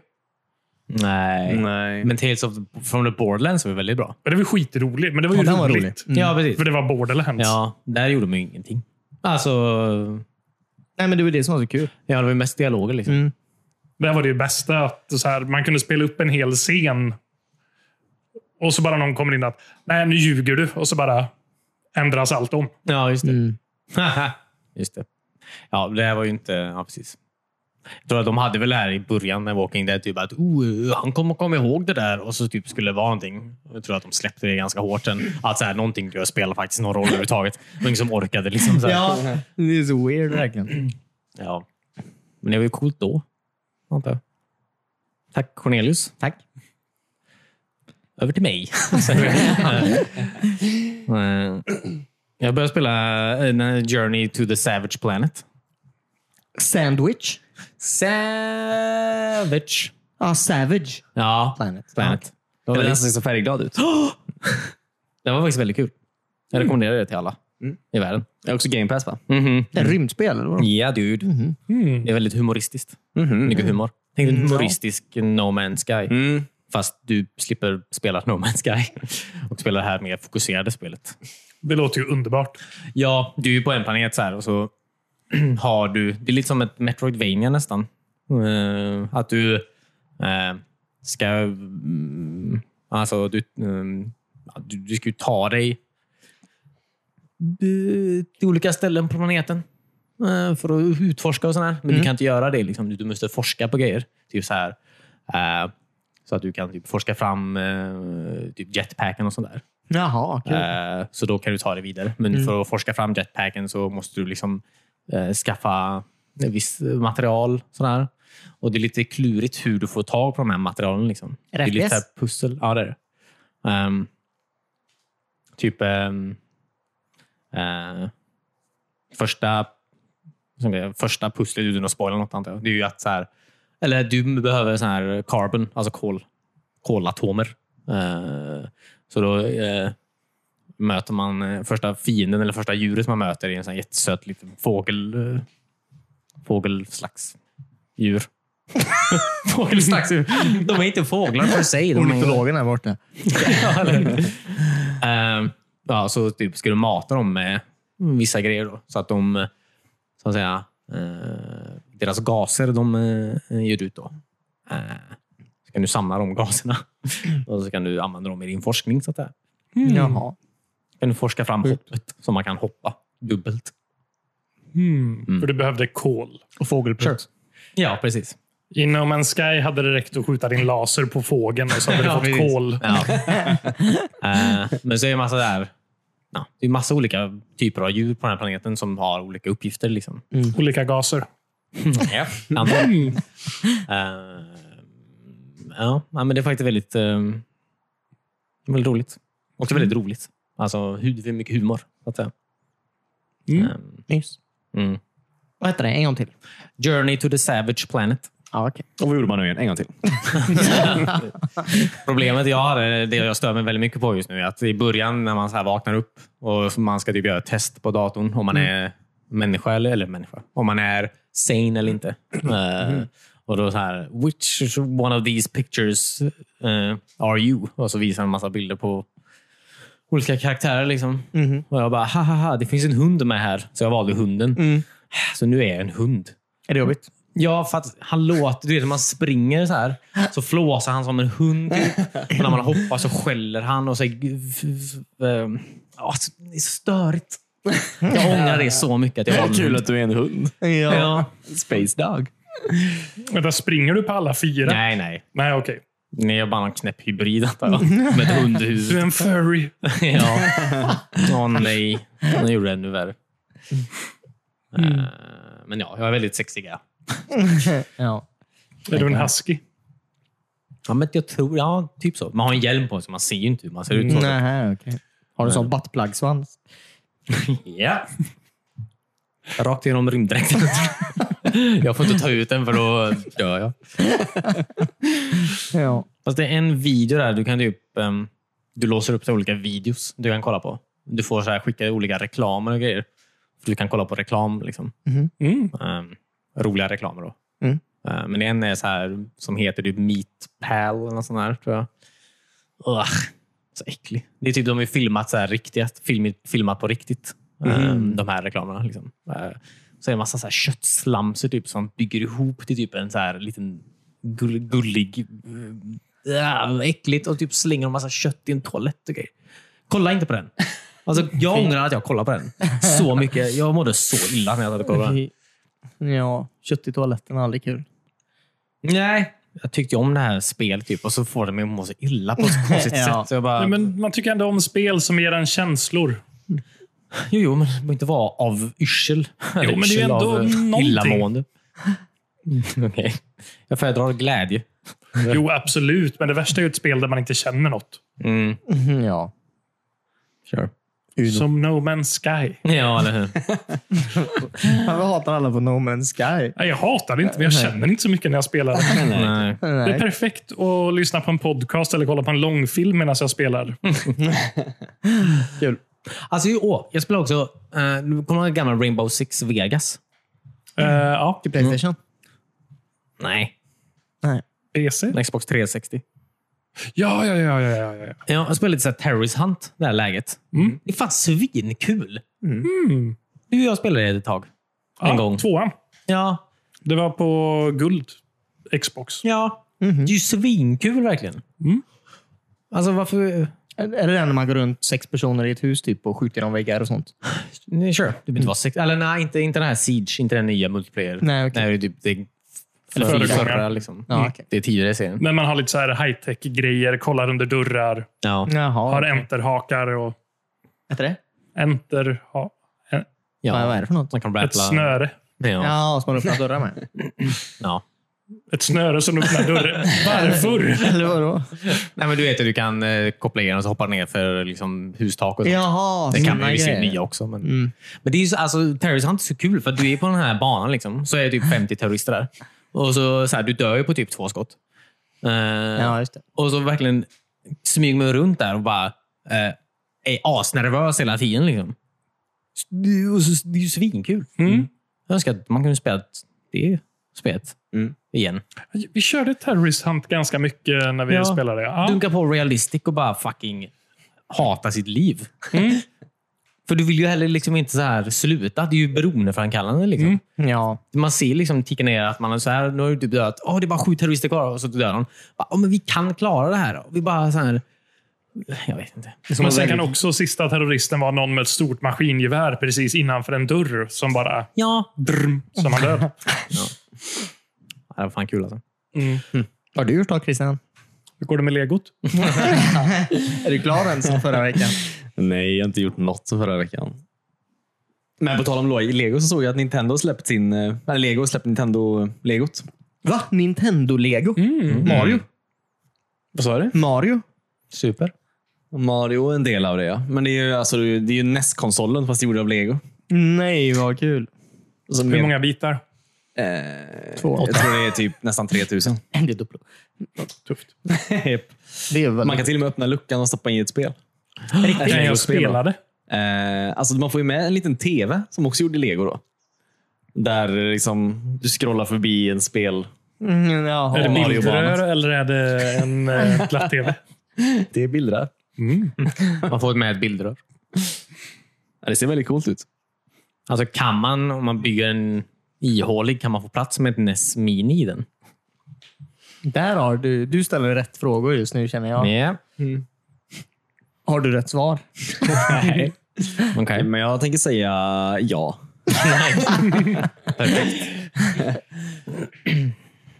Speaker 3: Nej.
Speaker 4: Nej.
Speaker 3: Men Tales of the, from the Borderlands var väldigt bra.
Speaker 1: Men det var ju skitroligt, men det var ju
Speaker 2: Ja, den var
Speaker 1: roligt.
Speaker 2: rolig. Mm.
Speaker 3: Ja, precis.
Speaker 1: För det var Borderlands.
Speaker 3: Ja, där gjorde man ju ingenting. Alltså,
Speaker 2: Nej, men det var det som var så kul.
Speaker 3: ja, det var ju mest dialoger. Liksom.
Speaker 2: Mm.
Speaker 1: Där var det ju bästa att så här, man kunde spela upp en hel scen och så bara någon kommer in att nej, nu ljuger du och så bara ändras allt om.
Speaker 3: Ja, just det.
Speaker 2: Mm.
Speaker 3: just det. Ja, det här var ju inte... Ja, precis. Jag tror att de hade väl det här i början med Walking Dead, typ att oh, han kommer komma ihåg det där och så typ skulle det vara någonting. Jag tror att de släppte det ganska hårt sen. Att så här, någonting jag spelar faktiskt någon roll överhuvudtaget. Det var ingen som orkade. Liksom, så här.
Speaker 2: Ja, det är så weird verkligen.
Speaker 3: Ja. Men det var ju coolt då. antar jag. Tack Cornelius.
Speaker 2: Tack.
Speaker 3: Över till mig. Eh, jag började spela eh, den här Journey to the Savage Planet.
Speaker 2: Sandwich?
Speaker 3: Savage.
Speaker 2: Ja, Savage
Speaker 3: Ja,
Speaker 2: Planet.
Speaker 3: Planet. Det var,
Speaker 4: Eller den
Speaker 3: väldigt,
Speaker 4: som ser så färgglad ut.
Speaker 3: det var faktiskt väldigt kul. Jag rekommenderar det till alla i världen.
Speaker 4: Det är också Game Pass va?
Speaker 2: Det är rymdspel, eller vadå?
Speaker 3: Ja, dude. Det är väldigt humoristiskt. Mycket humor. Tänk en humoristisk No Man's Sky.
Speaker 4: Mm.
Speaker 3: Fast du slipper spela No Man's Sky och spela det här mer fokuserade spelet.
Speaker 1: Det låter ju underbart.
Speaker 3: Ja, du är ju på en planet så här och så har du... Det är lite som ett Metroidvania nästan. Eh, att du eh, ska... mm, alltså, du, mm, ja, du, du ska ju ta dig eh, till olika ställen på planeten eh, för att utforska och sådär. Men du kan inte göra det. Liksom. Du- Du måste forska på grejer. Typ så här... eh, så att du kan typ forska fram eh, typ jetpacken och sådär.
Speaker 2: Jaha, kul.
Speaker 3: Eh, Så då kan du ta det vidare. Men för att forska fram jetpacken så måste du liksom eh, skaffa visst material. Sådär. Och Det är lite klurigt hur du får tag på de här materialen. Liksom.
Speaker 2: Är
Speaker 3: Det
Speaker 2: det
Speaker 3: är lite
Speaker 2: FPS?
Speaker 3: så här pussel. Ja, det är det. Ehm, typ ehm, eh, första, som det är, första pusslet, utan att spoila något antar jag, det är ju att så här, eller du behöver så här carbon, alltså kol, kolatomer. Eh, så då eh, möter man eh, första fienden eller första djuret man möter är en sån här jättesöt liten fågel, eh, fågelslags djur. fågelslags djur. De är inte fåglar för sig. De är,
Speaker 2: Ornitologen här borta.
Speaker 3: Ja, eller hur? Ehm, ja, så typ ska du mata dem med vissa grejer då, så att de, eh, så att säga, eh, deras gaser de eh, ger ut då. Eh, så kan du samla de gaserna och så kan du använda dem i din forskning. Så att säga.
Speaker 2: Mm. Jaha.
Speaker 3: kan du forska fram hoppet så man kan hoppa dubbelt.
Speaker 2: Mm.
Speaker 1: För du behövde kol.
Speaker 2: Och fågelprutt.
Speaker 3: Ja, precis.
Speaker 1: I No Man's Sky hade det räckt att skjuta din laser på fågeln och så hade
Speaker 3: Ja,
Speaker 1: du fått
Speaker 3: precis.
Speaker 1: kol.
Speaker 3: Ja. Eh, men så är det massa där. Ja, det är massa olika typer av djur på den här planeten som har olika uppgifter. Liksom.
Speaker 1: Olika gaser.
Speaker 3: Ja, antar jag. Eh, ja, ja, men det är faktiskt väldigt, eh, väldigt roligt. Också väldigt roligt. Alltså, hu- det är mycket humor. Så att säga.
Speaker 1: Mm.
Speaker 3: Eh,
Speaker 2: Ehm, Nyss.
Speaker 3: Mm.
Speaker 2: Vad heter det? En gång till.
Speaker 3: Journey to the Savage Planet.
Speaker 2: Ja, okej.
Speaker 4: Och vad gjorde man nu igen? En gång till.
Speaker 3: Problemet jag hade, det jag stör mig väldigt mycket på just nu, är att i början när man så här vaknar upp och man ska typ göra ett test på datorn om man är människa eller, eller människa, om man är sane eller inte. Eh, och då så här, which one of these pictures eh, are you? Och så visar en massa bilder på olika karaktärer. Liksom. Och jag bara, ha ha ha, det finns en hund med här. Så jag valde hunden. Så nu är jag en hund.
Speaker 2: Är det jobbigt?
Speaker 3: Ja, för att han låter... Du vet, när man springer så här så flåsar han som en hund. Typ. Och när man hoppar så skäller han. Och så, ähm, alltså, det är så störigt. Jag ångrar det så mycket. Att jag var en hund.
Speaker 4: att du är en hund.
Speaker 3: Ja.
Speaker 4: Space Dog.
Speaker 1: Men där springer du på alla fyra?
Speaker 3: Nej, nej.
Speaker 1: Nej, okej.
Speaker 3: Ni är bara en knäpp hybrid antar jag. Med ett
Speaker 1: Du är
Speaker 3: hundhuvud.
Speaker 1: en furry.
Speaker 3: ja. Åh nej. Nu gjorde det ännu värre. Eh, Men ja, jag är väldigt sexiga.
Speaker 2: Ja.
Speaker 1: Är du en husky?
Speaker 3: Ja, men jag tror, ja, typ så. Man har en hjälm på sig, man ser ju inte hur man ser ut. Så.
Speaker 2: Mm. Nej, okej. Har du en sån buttplug-svans?
Speaker 3: Ja. Rakt igenom rymddräkten. jag får inte ta ut den för då dör jag.
Speaker 2: Ja.
Speaker 3: Fast det är en video där. Du kan typ... ehm, du låser upp till olika videos du kan kolla på. Du får så här, skicka olika reklamer och grejer. För du kan kolla på reklam. Liksom.
Speaker 1: Mm.
Speaker 3: Ehm, roliga reklamer då.
Speaker 2: Mm.
Speaker 3: Ehm, men en är så här, som heter typ Meat Pal eller något sånt där, tror jag. Ugh, så äcklig. Det är typ de är filmat så här riktigt. Film, filmat på riktigt. Ehm, De här reklamerna. Liksom. Ehm, så är det en massa så här köttslamser typ, som bygger ihop till typ en så här liten gull, gullig... Äh, äckligt och typ slänger en massa kött i en toalett och grejer. Kolla inte på den. Alltså, jag ångrar att jag kollade på den. Så mycket. Jag mådde så illa när jag hade kollat på den.
Speaker 2: Ja, kött i toaletten är aldrig kul.
Speaker 3: Nej. Jag tyckte om det här spelet typ, och så får det mig att må så illa på ett konstigt
Speaker 2: Ja.
Speaker 3: sätt. Så jag bara,
Speaker 1: Nej, men man tycker ändå om spel som ger en känslor.
Speaker 3: jo, jo, men det behöver inte vara av yrsel. Jo,
Speaker 1: men det är ju ändå någonting.
Speaker 3: illamående. Mm, Okej. Jag föredrar glädje.
Speaker 1: Jo, absolut. Men det värsta är ju ett spel där man inte känner något.
Speaker 3: Mm.
Speaker 2: Ja.
Speaker 3: Sure.
Speaker 1: Som No Man's Sky.
Speaker 3: Ja, eller hur?
Speaker 2: Varför hatar alla på No Man's Sky?
Speaker 1: Nej, jag hatar det inte, men jag känner inte så mycket när jag spelar. det.
Speaker 3: Nej.
Speaker 1: Det är
Speaker 2: Nej.
Speaker 1: perfekt att lyssna på en podcast eller kolla på en långfilm medan jag spelar.
Speaker 3: Mm. Alltså, ju- åh, jag spelar också... Eh, nu kommer den gamla Rainbow Six Vegas?
Speaker 1: Eh, ja,
Speaker 2: Till Playstation?
Speaker 3: Nej,
Speaker 2: Mm. Nej.
Speaker 1: PC.
Speaker 3: Xbox 360.
Speaker 1: Ja, ja, ja. ja, ja, ja.
Speaker 3: Ja, jag spelade lite så här Terrorist Hunt det här läget. Mm. Det är fan svinkul.
Speaker 1: Mm.
Speaker 3: Du och jag spelade det ett tag. En
Speaker 1: ja
Speaker 3: gång.
Speaker 1: Tvåan.
Speaker 3: Ja,
Speaker 1: Det var på guld. Xbox.
Speaker 3: Ja. Det är ju svinkul verkligen.
Speaker 1: Mm.
Speaker 3: Alltså varför...
Speaker 2: Är är det den när man går runt sex personer i ett hus typ och skjuter genom väggar och sånt?
Speaker 3: Nej, sure. Det behöver inte vara sex... Eller nej, inte, inte den här Siege. Inte den nya multiplayer.
Speaker 2: Nej, okej.
Speaker 3: nej det är typ... Det är
Speaker 1: Eller
Speaker 3: förra,
Speaker 1: förra
Speaker 3: förra,
Speaker 1: gången.
Speaker 3: liksom.
Speaker 2: Ja, okej.
Speaker 3: Det är tidigare i serien.
Speaker 1: Men man har lite så här high-tech-grejer, kollar under dörrar,
Speaker 3: Ja.
Speaker 1: har
Speaker 2: Jaha.
Speaker 1: enterhakar och
Speaker 2: Heter det?
Speaker 1: enter... Ha, en,
Speaker 2: Ja. Vad är det för något?
Speaker 3: Man kan
Speaker 1: ett
Speaker 3: rattla.
Speaker 1: snöre.
Speaker 3: Ja.
Speaker 2: Ja, som man öppnar dörrar med.
Speaker 3: ja.
Speaker 1: Ett snöre som öppnar dörren. Varför?
Speaker 2: Eller vadå?
Speaker 3: Nej, men du vet att du kan eh, koppla igen och så hoppa ner för liksom, hustak och sånt.
Speaker 2: Jaha,
Speaker 3: Det kan
Speaker 2: såna
Speaker 3: man ju i och för sig
Speaker 2: grejer. Mm.
Speaker 3: nya också. Men, men det är ju så, alltså, terrorist hunt är så kul, för att du är på den här banan liksom, så är det typ 50 terrorister där. Och så, så här, du dör ju på typ två skott. Eh,
Speaker 2: Ja, just det.
Speaker 3: Och så verkligen smyger man runt där och bara eh, är asnervös hela tiden. Liksom. S- Det, är ju- det är ju svinkul.
Speaker 1: Mm.
Speaker 3: Jag önskar att man kunde spela det spelet
Speaker 1: Mm.
Speaker 3: igen.
Speaker 1: Vi körde Terrorist Hunt ganska mycket när vi
Speaker 3: Ja.
Speaker 1: spelade. Ja.
Speaker 3: dunka på realistic och bara fucking hata sitt liv.
Speaker 1: Mm.
Speaker 3: För du vill ju heller liksom inte så här sluta. Det är ju beroendeframkallande. Liksom.
Speaker 1: Mm.
Speaker 2: Ja.
Speaker 3: Man ser liksom ticka ner att man är så här, nu har du typ dödat. Åh, det är bara sju terrorister kvar och så dör någon. Bara, "Ja, men vi kan klara det här. Och Vi bara så här... Jag vet inte.
Speaker 1: Men sen kan också sista terroristen vara någon med ett stort maskingevär precis innanför en dörr som bara...
Speaker 3: Ja.
Speaker 1: Brm, som man dör.
Speaker 3: Ja, Det var fan kul alltså.
Speaker 2: Vad har du gjort då, Christian?
Speaker 1: Mm. Hur går det med legot?
Speaker 2: Är du klar än sen förra veckan?
Speaker 4: Nej, jag har inte gjort något förra veckan. Men på tal om Lo- Lego så såg jag att Nintendo har släppt sin... eh, Eller Lego har släppt Nintendo-legot.
Speaker 2: Va? Nintendo-lego? Mario?
Speaker 4: Vad sa du?
Speaker 2: Mario?
Speaker 3: Super.
Speaker 4: Mario är en del av det, ja. Men det är ju, alltså, det är ju NES-konsolen fast gjord av Lego.
Speaker 2: Nej, vad kul.
Speaker 4: Alltså,
Speaker 2: Mm.
Speaker 1: Hur många bitar?
Speaker 4: Eh,
Speaker 2: Två.
Speaker 4: jag tror det är typ nästan 3000.
Speaker 2: Det är Duplo.
Speaker 1: Tufft.
Speaker 2: Det är väl...
Speaker 4: Man kan till och med öppna luckan och stoppa in ett spel.
Speaker 1: När jag
Speaker 4: Legospel, va?
Speaker 1: spelade.
Speaker 4: Eh, alltså man får ju med en liten tv som också gjorde lego. då. Där eh, liksom, du scrollar förbi en spel.
Speaker 2: Mm, jaha.
Speaker 1: Är det
Speaker 4: Mario-banan.
Speaker 1: bildrör eller är det en eh, platt-tv?
Speaker 4: Det är bilder där.
Speaker 3: Man får med ett bildrör.
Speaker 4: Ja, det ser väldigt coolt ut.
Speaker 3: Alltså kan man, om man bygger en ihålig, kan man få plats med ett NES Mini i den?
Speaker 2: Där har du... Du ställer rätt frågor just nu, känner jag.
Speaker 3: Ja.
Speaker 2: Har du rätt svar?
Speaker 4: Nej.
Speaker 3: Okej.
Speaker 4: Men jag tänker säga ja.
Speaker 3: Perfekt.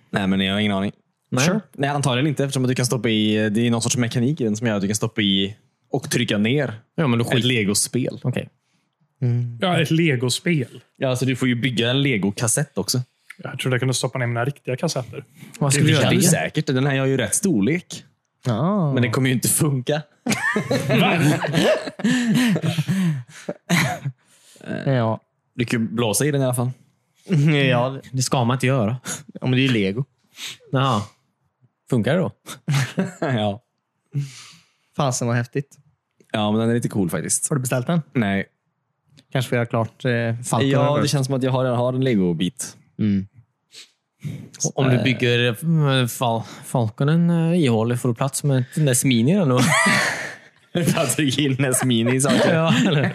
Speaker 4: Nej, men jag har ingen aning.
Speaker 3: Nej.
Speaker 4: Nej, antagligen inte eftersom att du kan stoppa i, det är någon sorts mekanik i den som gör att du kan stoppa i och trycka ner
Speaker 3: Ja, men då
Speaker 4: ett
Speaker 3: skit.
Speaker 4: legospel.
Speaker 3: Okej.
Speaker 1: Ja, ett legospel.
Speaker 4: Ja, alltså du får ju bygga en legokassett också.
Speaker 1: Jag trodde jag kunde stoppa ner mina riktiga kassetter.
Speaker 3: Vad
Speaker 4: Det
Speaker 3: skulle du
Speaker 4: kan du
Speaker 3: göra?
Speaker 4: säkert. Den här har ju rätt storlek.
Speaker 2: Ah.
Speaker 4: Men det kommer ju inte funka.
Speaker 2: ja.
Speaker 4: Du kan ju blåsa i den i alla fall.
Speaker 2: ja, det-
Speaker 3: Det ska man inte göra.
Speaker 2: ja, men det är ju lego.
Speaker 3: Jaha. Funkar det då?
Speaker 4: ja.
Speaker 2: Fasen vad häftigt.
Speaker 4: ja, men den är lite cool faktiskt.
Speaker 2: Har du beställt den?
Speaker 4: Nej.
Speaker 2: Kanske får jag klart eh, Falcon.
Speaker 4: Ja,
Speaker 2: över.
Speaker 4: det känns som att jag har- jag har en legobit.
Speaker 2: mm.
Speaker 3: Om du bygger eh, fal Falconen eh, ihålig får du plats med den där smin i den. då.
Speaker 4: Patrik Hillnäs mini saker.
Speaker 3: ja, eller?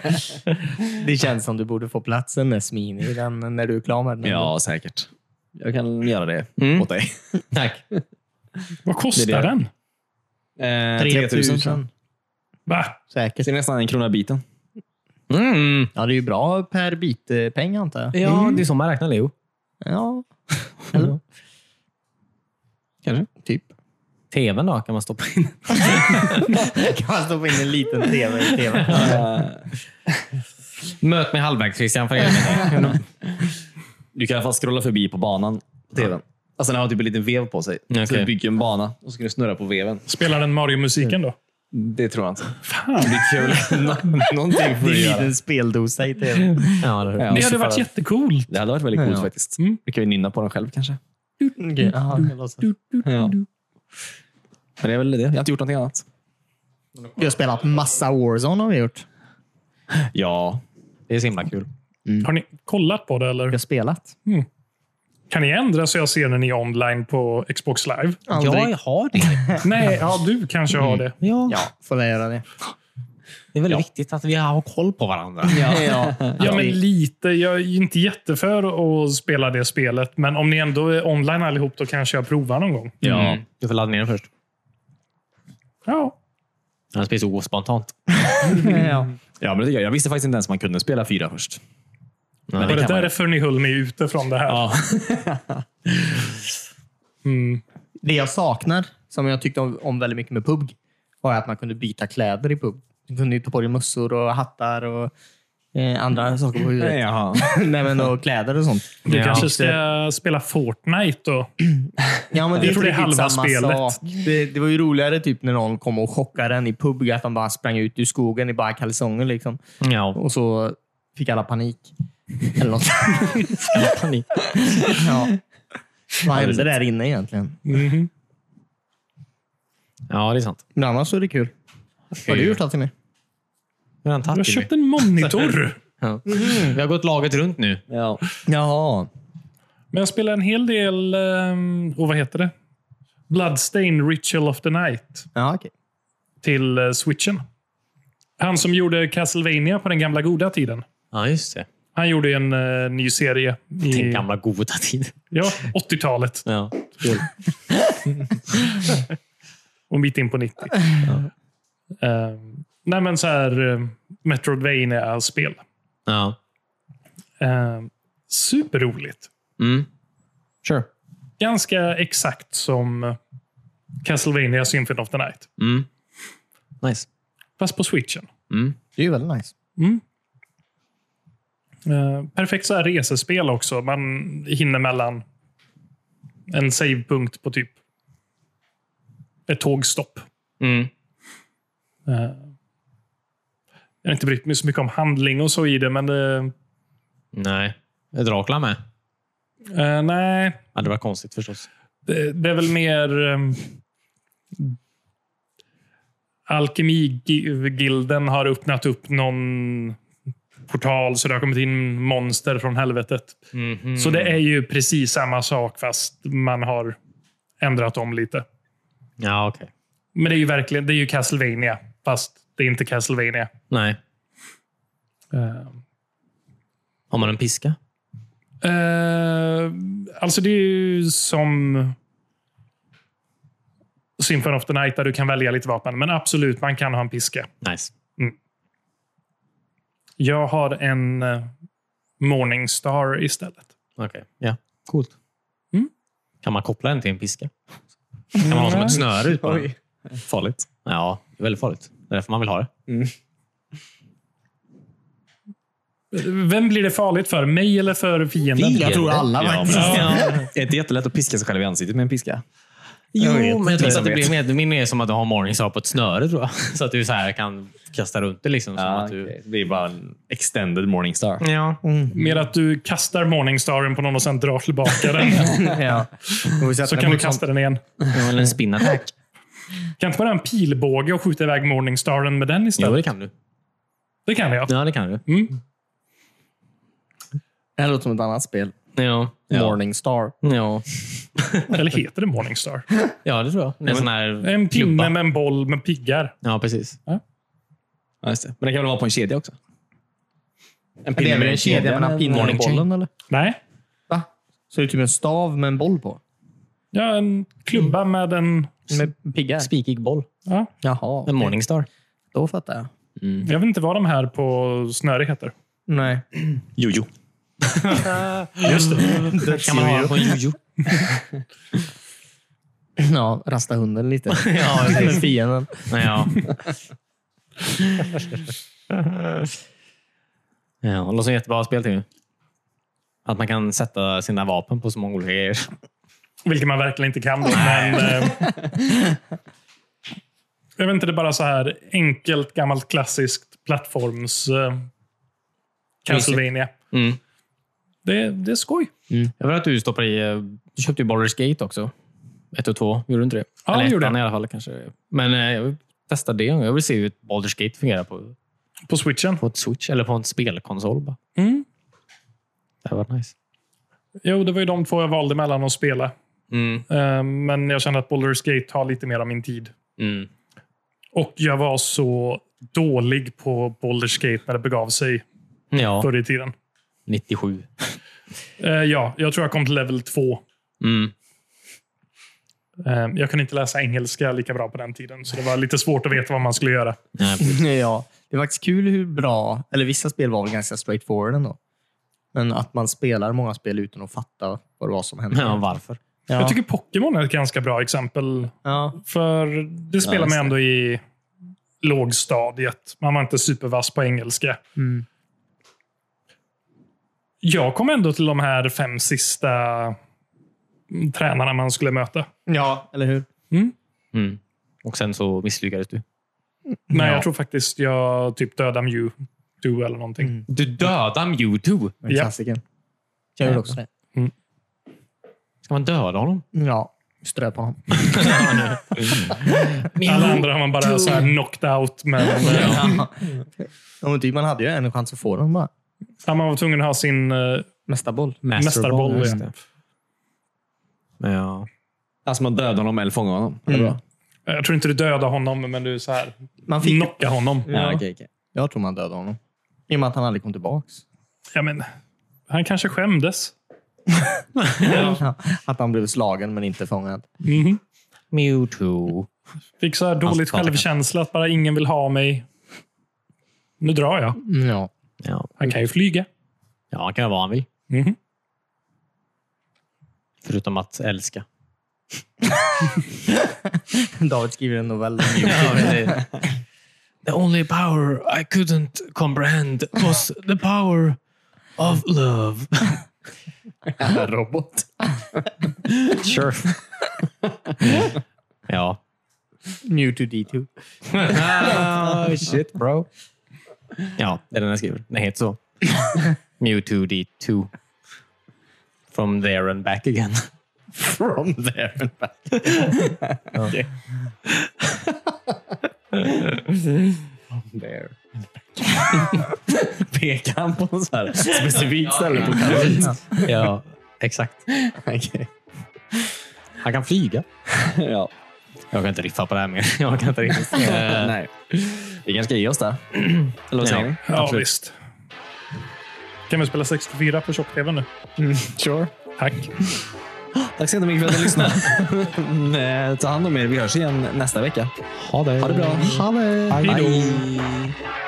Speaker 2: det känns som du borde få platsen med Smin i den när du är klar med den.
Speaker 4: Ja, säkert. Jag kan göra det
Speaker 3: Mm.
Speaker 4: åt dig.
Speaker 3: Tack.
Speaker 1: Vad kostar
Speaker 4: Det är det.
Speaker 1: den?
Speaker 4: Eh,
Speaker 2: 3000.
Speaker 4: 3000 tror jag.
Speaker 1: Va?
Speaker 4: Det
Speaker 2: Säkert.
Speaker 4: är nästan en krona biten.
Speaker 3: Mm.
Speaker 2: Ja, det är ju bra per bit-peng antar jag.
Speaker 3: Ja, det är så man räknar Leo.
Speaker 2: Ja,
Speaker 4: Kanske.
Speaker 2: typ.
Speaker 3: TVn då kan man stoppa in.
Speaker 2: kan man stoppa in en liten tv i tvn.
Speaker 4: Eh,
Speaker 3: Möt mig halvvägs Christian. För helvete.
Speaker 4: Du kan i alla fall scrolla förbi på banan på tvn. Alltså den har typ en liten vev på sig. Så
Speaker 3: Okej.
Speaker 4: du bygger en bana och så kan du snurra på veven.
Speaker 1: Spelar den Mario-musiken
Speaker 4: Mm.
Speaker 1: då?
Speaker 4: Det tror jag inte.
Speaker 1: Fan.
Speaker 4: Det är kul. Nå- Någonting får
Speaker 2: Det är
Speaker 4: du
Speaker 2: en
Speaker 4: göra.
Speaker 2: liten speldosa i tvn.
Speaker 3: ja, det
Speaker 4: Ja.
Speaker 1: Det hade varit jättecoolt.
Speaker 4: Det hade varit väldigt coolt
Speaker 2: Ja.
Speaker 4: faktiskt.
Speaker 1: Mm.
Speaker 4: Du kan ju nynna på den själv kanske.
Speaker 2: Okej, aha, Mm, jag låtsas.
Speaker 4: Ja. Men det är väl det. Jag har inte gjort någonting annat.
Speaker 2: Vi har spelat massa Warzone har vi gjort.
Speaker 4: Ja.
Speaker 3: det är så himla kul.
Speaker 4: Mm.
Speaker 1: Har ni kollat på det?
Speaker 2: Vi
Speaker 1: Eller?
Speaker 2: har spelat.
Speaker 1: Kan ni ändra så jag ser när ni är online på Xbox Live?
Speaker 2: Aldrig.
Speaker 3: Jag har det.
Speaker 1: Nej, ja, du kanske
Speaker 4: Mm.
Speaker 1: har det.
Speaker 3: Ja,
Speaker 2: Ja, får jag göra det.
Speaker 3: Det är väldigt viktigt att vi har koll på varandra.
Speaker 2: Ja.
Speaker 1: Ja,
Speaker 4: Alltså,
Speaker 1: men lite. Jag är inte jätteför att spela det spelet, men om ni ändå är online allihop, då kanske jag provar någon gång.
Speaker 3: Ja, du får ladda ner den först.
Speaker 1: Ja.
Speaker 3: Annars blir det så ospontant.
Speaker 2: ja.
Speaker 4: ja, men det tycker jag. Jag visste faktiskt inte ens att man kunde spela fyra först.
Speaker 3: Nej.
Speaker 1: Var det,
Speaker 4: kan man ju.
Speaker 1: därför ni höll mig ute från det här?
Speaker 4: Ja.
Speaker 1: Mm.
Speaker 2: Det jag saknar, som jag tyckte om, om väldigt mycket med PUBG, var att man kunde byta kläder i PUBG. Du kunde ju ta på dig mössor och hattar och eh, andra saker på huvudet.
Speaker 4: Jaha.
Speaker 2: Nej, men och kläder och sånt.
Speaker 1: Du
Speaker 3: Ja.
Speaker 1: kanske ska spela Fortnite då?
Speaker 2: Ja, men
Speaker 1: Jag
Speaker 2: det är inte
Speaker 1: tror det är
Speaker 2: riktigt
Speaker 1: halva
Speaker 2: samma
Speaker 1: spelet.
Speaker 2: sak. Det, det var ju roligare typ när någon kom och chockade en i PUBG, att han bara sprang ut ur skogen i bara kalsonger. Liksom.
Speaker 3: Ja.
Speaker 2: Och så fick alla panik. Eller något.
Speaker 3: Panik.
Speaker 2: ja. Vad hände där inne egentligen?
Speaker 1: Mhm.
Speaker 3: ja, det är sant.
Speaker 2: Men annars så är det kul. Vad har du gjort alltid med?
Speaker 3: Vi har,
Speaker 1: Du har köpt en monitor.
Speaker 3: ja. vi har gått laget runt nu.
Speaker 4: Ja.
Speaker 2: Jaha.
Speaker 1: Men jag spelar en hel del... ehm, Och vad heter det? Bloodstain Ritual of the Night
Speaker 2: Ja, okej.
Speaker 1: till eh, switchen. Han som gjorde Castlevania på den gamla goda tiden.
Speaker 3: Ja, just det.
Speaker 1: Han gjorde ju en eh, ny serie.
Speaker 3: Den
Speaker 1: I,
Speaker 3: gamla goda tiden.
Speaker 1: ja, 80-talet.
Speaker 3: Ja.
Speaker 1: Och mitt in på 90. Eh, nej, men så här... Uh, Metroidvania-spel.
Speaker 3: ja.
Speaker 1: Eh, superroligt.
Speaker 3: Mm.
Speaker 2: Sure.
Speaker 1: Ganska exakt som eh, Castlevania Symphony of the Night.
Speaker 3: Mm. Nice.
Speaker 1: Fast på switchen.
Speaker 3: Mm.
Speaker 2: Det är ju väldigt nice.
Speaker 1: Eh, perfekt så här resespel också. Man hinner mellan en savepunkt på typ ett tågstopp.
Speaker 3: Mm.
Speaker 1: Eh, jag har inte brytt mig så mycket om handling och så i det, men det,
Speaker 3: Nej. Är Dracula med?
Speaker 1: eh, nej.
Speaker 3: Ja, det var konstigt förstås.
Speaker 1: Det, det är väl mer um, Alkemigilden har öppnat upp någon portal så det har kommit in monster från helvetet.
Speaker 3: Mhm.
Speaker 1: Så det är ju precis samma sak fast man har ändrat om lite.
Speaker 3: Ja, okej.
Speaker 1: Men det är ju verkligen det är ju Castlevania fast det är inte Castlevania.
Speaker 3: Nej.
Speaker 1: Eh,
Speaker 3: Har man en piska?
Speaker 1: Eh, alltså det är ju som Symphony of the Night där du kan välja lite vapen. Men absolut, man kan ha en piska.
Speaker 3: Nice.
Speaker 1: Jag har en eh, Morningstar istället.
Speaker 3: Okej. Ja. Coolt.
Speaker 1: Mm.
Speaker 3: Kan man koppla den till en piska? Kan man ha som ett snöre ut på den?
Speaker 4: Farligt.
Speaker 3: Ja, det är väldigt farligt. Det är därför man vill ha det.
Speaker 1: Vem blir det farligt för? Mig eller för fienden?
Speaker 2: Jag tror alla faktiskt.
Speaker 4: Det är inte jättelätt att piska sig själv i ansiktet med en piska.
Speaker 3: Jo,
Speaker 2: Jag vet
Speaker 3: men jag
Speaker 2: inte.
Speaker 3: tror att det blir mer, min är som att du har mornings på ett snöre tror jag. Så att du så här kan kasta runt det liksom. Som
Speaker 4: Ja,
Speaker 3: att du,
Speaker 4: Ah, okej. Det blir bara en extended morningstar.
Speaker 3: ja.
Speaker 1: Mer att du kastar Morningstaren på någon och sen drar tillbaka den.
Speaker 2: Ja. Och vi sätter
Speaker 1: Så
Speaker 2: den
Speaker 1: kan
Speaker 2: på
Speaker 1: du
Speaker 2: ett sånt-
Speaker 1: kasta den igen.
Speaker 3: Eller en spinattack.
Speaker 1: Kan inte bara en pilbåge och skjuta iväg Morningstaren med den
Speaker 3: Jo,
Speaker 1: istället?
Speaker 3: det kan du.
Speaker 1: Det kan jag.
Speaker 3: Ja, det kan du.
Speaker 1: Mm.
Speaker 2: Det här låter som ett annat spel.
Speaker 3: Ja.
Speaker 2: Morningstar.
Speaker 3: Ja.
Speaker 1: Eller heter det Morningstar?
Speaker 3: ja, det tror jag. Det är en sån här
Speaker 1: En pinne
Speaker 3: klubba.
Speaker 1: med en boll med piggar.
Speaker 3: Ja, precis.
Speaker 4: Ja, just det. Men det kan väl vara på en kedja också? En
Speaker 2: Det är väl en kedja mellan pinnen och
Speaker 4: Morning chain.
Speaker 2: bollen, eller?
Speaker 1: Nej.
Speaker 2: Va? Så det är typ en stav med en boll på?
Speaker 1: Ja, en klubba med en...
Speaker 2: Med piggar?
Speaker 3: Spikig boll.
Speaker 1: Ja,
Speaker 2: Jaha.
Speaker 3: En
Speaker 2: okej.
Speaker 3: morningstar.
Speaker 2: Då fattar jag.
Speaker 1: jag vet inte vad de här på snöre heter.
Speaker 2: Nej.
Speaker 4: Jojo.
Speaker 3: Kan man ha den på en jojo?
Speaker 2: Ja, rasta hunden lite. ja, med fienden.
Speaker 3: Ja. ja, det låter som ett jättebra spel till. Att man kan sätta sina vapen på så många olika grejer.
Speaker 1: Vilket man verkligen inte kan. Då, men, eh, jag vet inte, det är bara så här enkelt, gammalt, klassiskt plattforms eh, Castlevania.
Speaker 3: Mm.
Speaker 1: Det, det är skoj.
Speaker 3: Jag vet att du stoppar i... eh, Du köpte ju Baldur's Gate också. Ett och två, gjorde du inte det?
Speaker 1: Ja,
Speaker 3: Eller
Speaker 1: jag gjorde
Speaker 3: ettan
Speaker 1: det.
Speaker 3: i alla fall kanske. Men eh, jag vill testa det. Jag vill se hur ett Baldur's Gate fungerar på,
Speaker 1: På switchen.
Speaker 3: på ett Switch eller på en spelkonsol. Bara.
Speaker 1: Mm.
Speaker 3: Det hade varit nice.
Speaker 1: Jo, det var ju de två jag valde mellan att spela. Eh, men jag kände att Baldur's Gate tar lite mer av min tid.
Speaker 3: Mm.
Speaker 1: Och jag var så dålig på Baldur's Gate när det begav sig
Speaker 3: Ja,
Speaker 1: förr i tiden.
Speaker 3: 97.
Speaker 1: Eh, ja, jag tror jag kom till level 2.
Speaker 3: Mm.
Speaker 1: Eh, jag kunde inte läsa engelska lika bra på den tiden, så det var lite svårt att veta vad man skulle göra.
Speaker 3: Nej,
Speaker 2: ja. Det är faktiskt kul hur bra, eller vissa spel var väl ganska straightforward ändå. Men att man spelar många spel utan att fatta vad det var som hände.
Speaker 3: ja, varför?
Speaker 2: Ja.
Speaker 1: Jag tycker Pokémon är ett ganska bra exempel.
Speaker 2: ja.
Speaker 1: För det spelar
Speaker 4: just
Speaker 1: man ändå i lågstadiet. Man var inte supervass på engelska.
Speaker 2: Mm.
Speaker 1: Jag kom ändå till de här fem sista mm, tränarna man skulle möta.
Speaker 2: ja, eller hur?
Speaker 3: Mm. Och sen så misslyckades du.
Speaker 1: Nej,
Speaker 2: Ja.
Speaker 1: jag tror faktiskt jag typ dödade Mew. Du eller någonting.
Speaker 2: Mm.
Speaker 3: Du dödar Mewtwo!
Speaker 2: Den
Speaker 1: Ja.
Speaker 2: klassikern. Jag gjorde också det.
Speaker 3: Ska man döda honom?
Speaker 2: Ja, strö på honom.
Speaker 1: Alla andra har man bara så här knocked out. Men eh,
Speaker 2: Ja. men typ, man hade ju en chans att få den bara.
Speaker 1: ja, man var tvungen att ha sin eh,
Speaker 2: Nästa boll.
Speaker 1: mästarboll.
Speaker 3: Mästerboll,
Speaker 1: igen.
Speaker 3: just det. Ja.
Speaker 4: Alltså man dödar honom eller fångar honom. Är det
Speaker 2: Mm.
Speaker 4: bra?
Speaker 1: Jag tror inte du dödar honom, men du så här,
Speaker 2: Man fick,
Speaker 1: knockar honom.
Speaker 2: Ja.
Speaker 4: okej, okej.
Speaker 2: Jag tror man dödade honom. I och med att han aldrig kom tillbaks.
Speaker 1: Ja, men, han kanske skämdes.
Speaker 2: Ja, Att han blev slagen men inte fångad.
Speaker 1: Mhm.
Speaker 3: Mewtwo.
Speaker 1: Fick så här
Speaker 2: Alltså,
Speaker 1: dåligt
Speaker 3: pratar.
Speaker 1: självkänsla att bara ingen vill ha mig. Nu drar jag.
Speaker 2: Ja.
Speaker 3: Ja.
Speaker 1: Han kan ju flyga.
Speaker 3: ja, han kan göra vad han vill.
Speaker 1: Mhm.
Speaker 3: Förutom att älska.
Speaker 2: David skriver en novell.
Speaker 5: The only power I couldn't comprehend was the power of love.
Speaker 2: Robot.
Speaker 3: Sure. ja.
Speaker 2: Mewtwo D2. Ah,
Speaker 3: oh, shit bro. Ja, det är den jag skriver. Den heter så. Mewtwo D2. From there and back again.
Speaker 2: From there and back.
Speaker 4: Pekar han på något så här specifikt ställe på kameran?
Speaker 3: ja, exakt.
Speaker 2: Okej.
Speaker 3: Han kan flyga.
Speaker 4: ja.
Speaker 3: Jag kan inte riffa på det här mer. Jag kan inte riktigt. Eh,
Speaker 4: Nej. Vi kanske ska ge oss där. Eller vad säger
Speaker 3: Ja.
Speaker 4: ni?
Speaker 1: Ja, visst. Kan vi spela 64 på tjock-tv nu?
Speaker 2: Mm, Sure.
Speaker 1: Tack.
Speaker 4: Tack så jättemycket för att ni lyssnade. Mm, Ta hand om er. Vi hörs igen nästa vecka.
Speaker 3: Ha det.
Speaker 4: Ha det bra. Ha det.
Speaker 1: Hej då.
Speaker 4: Hej.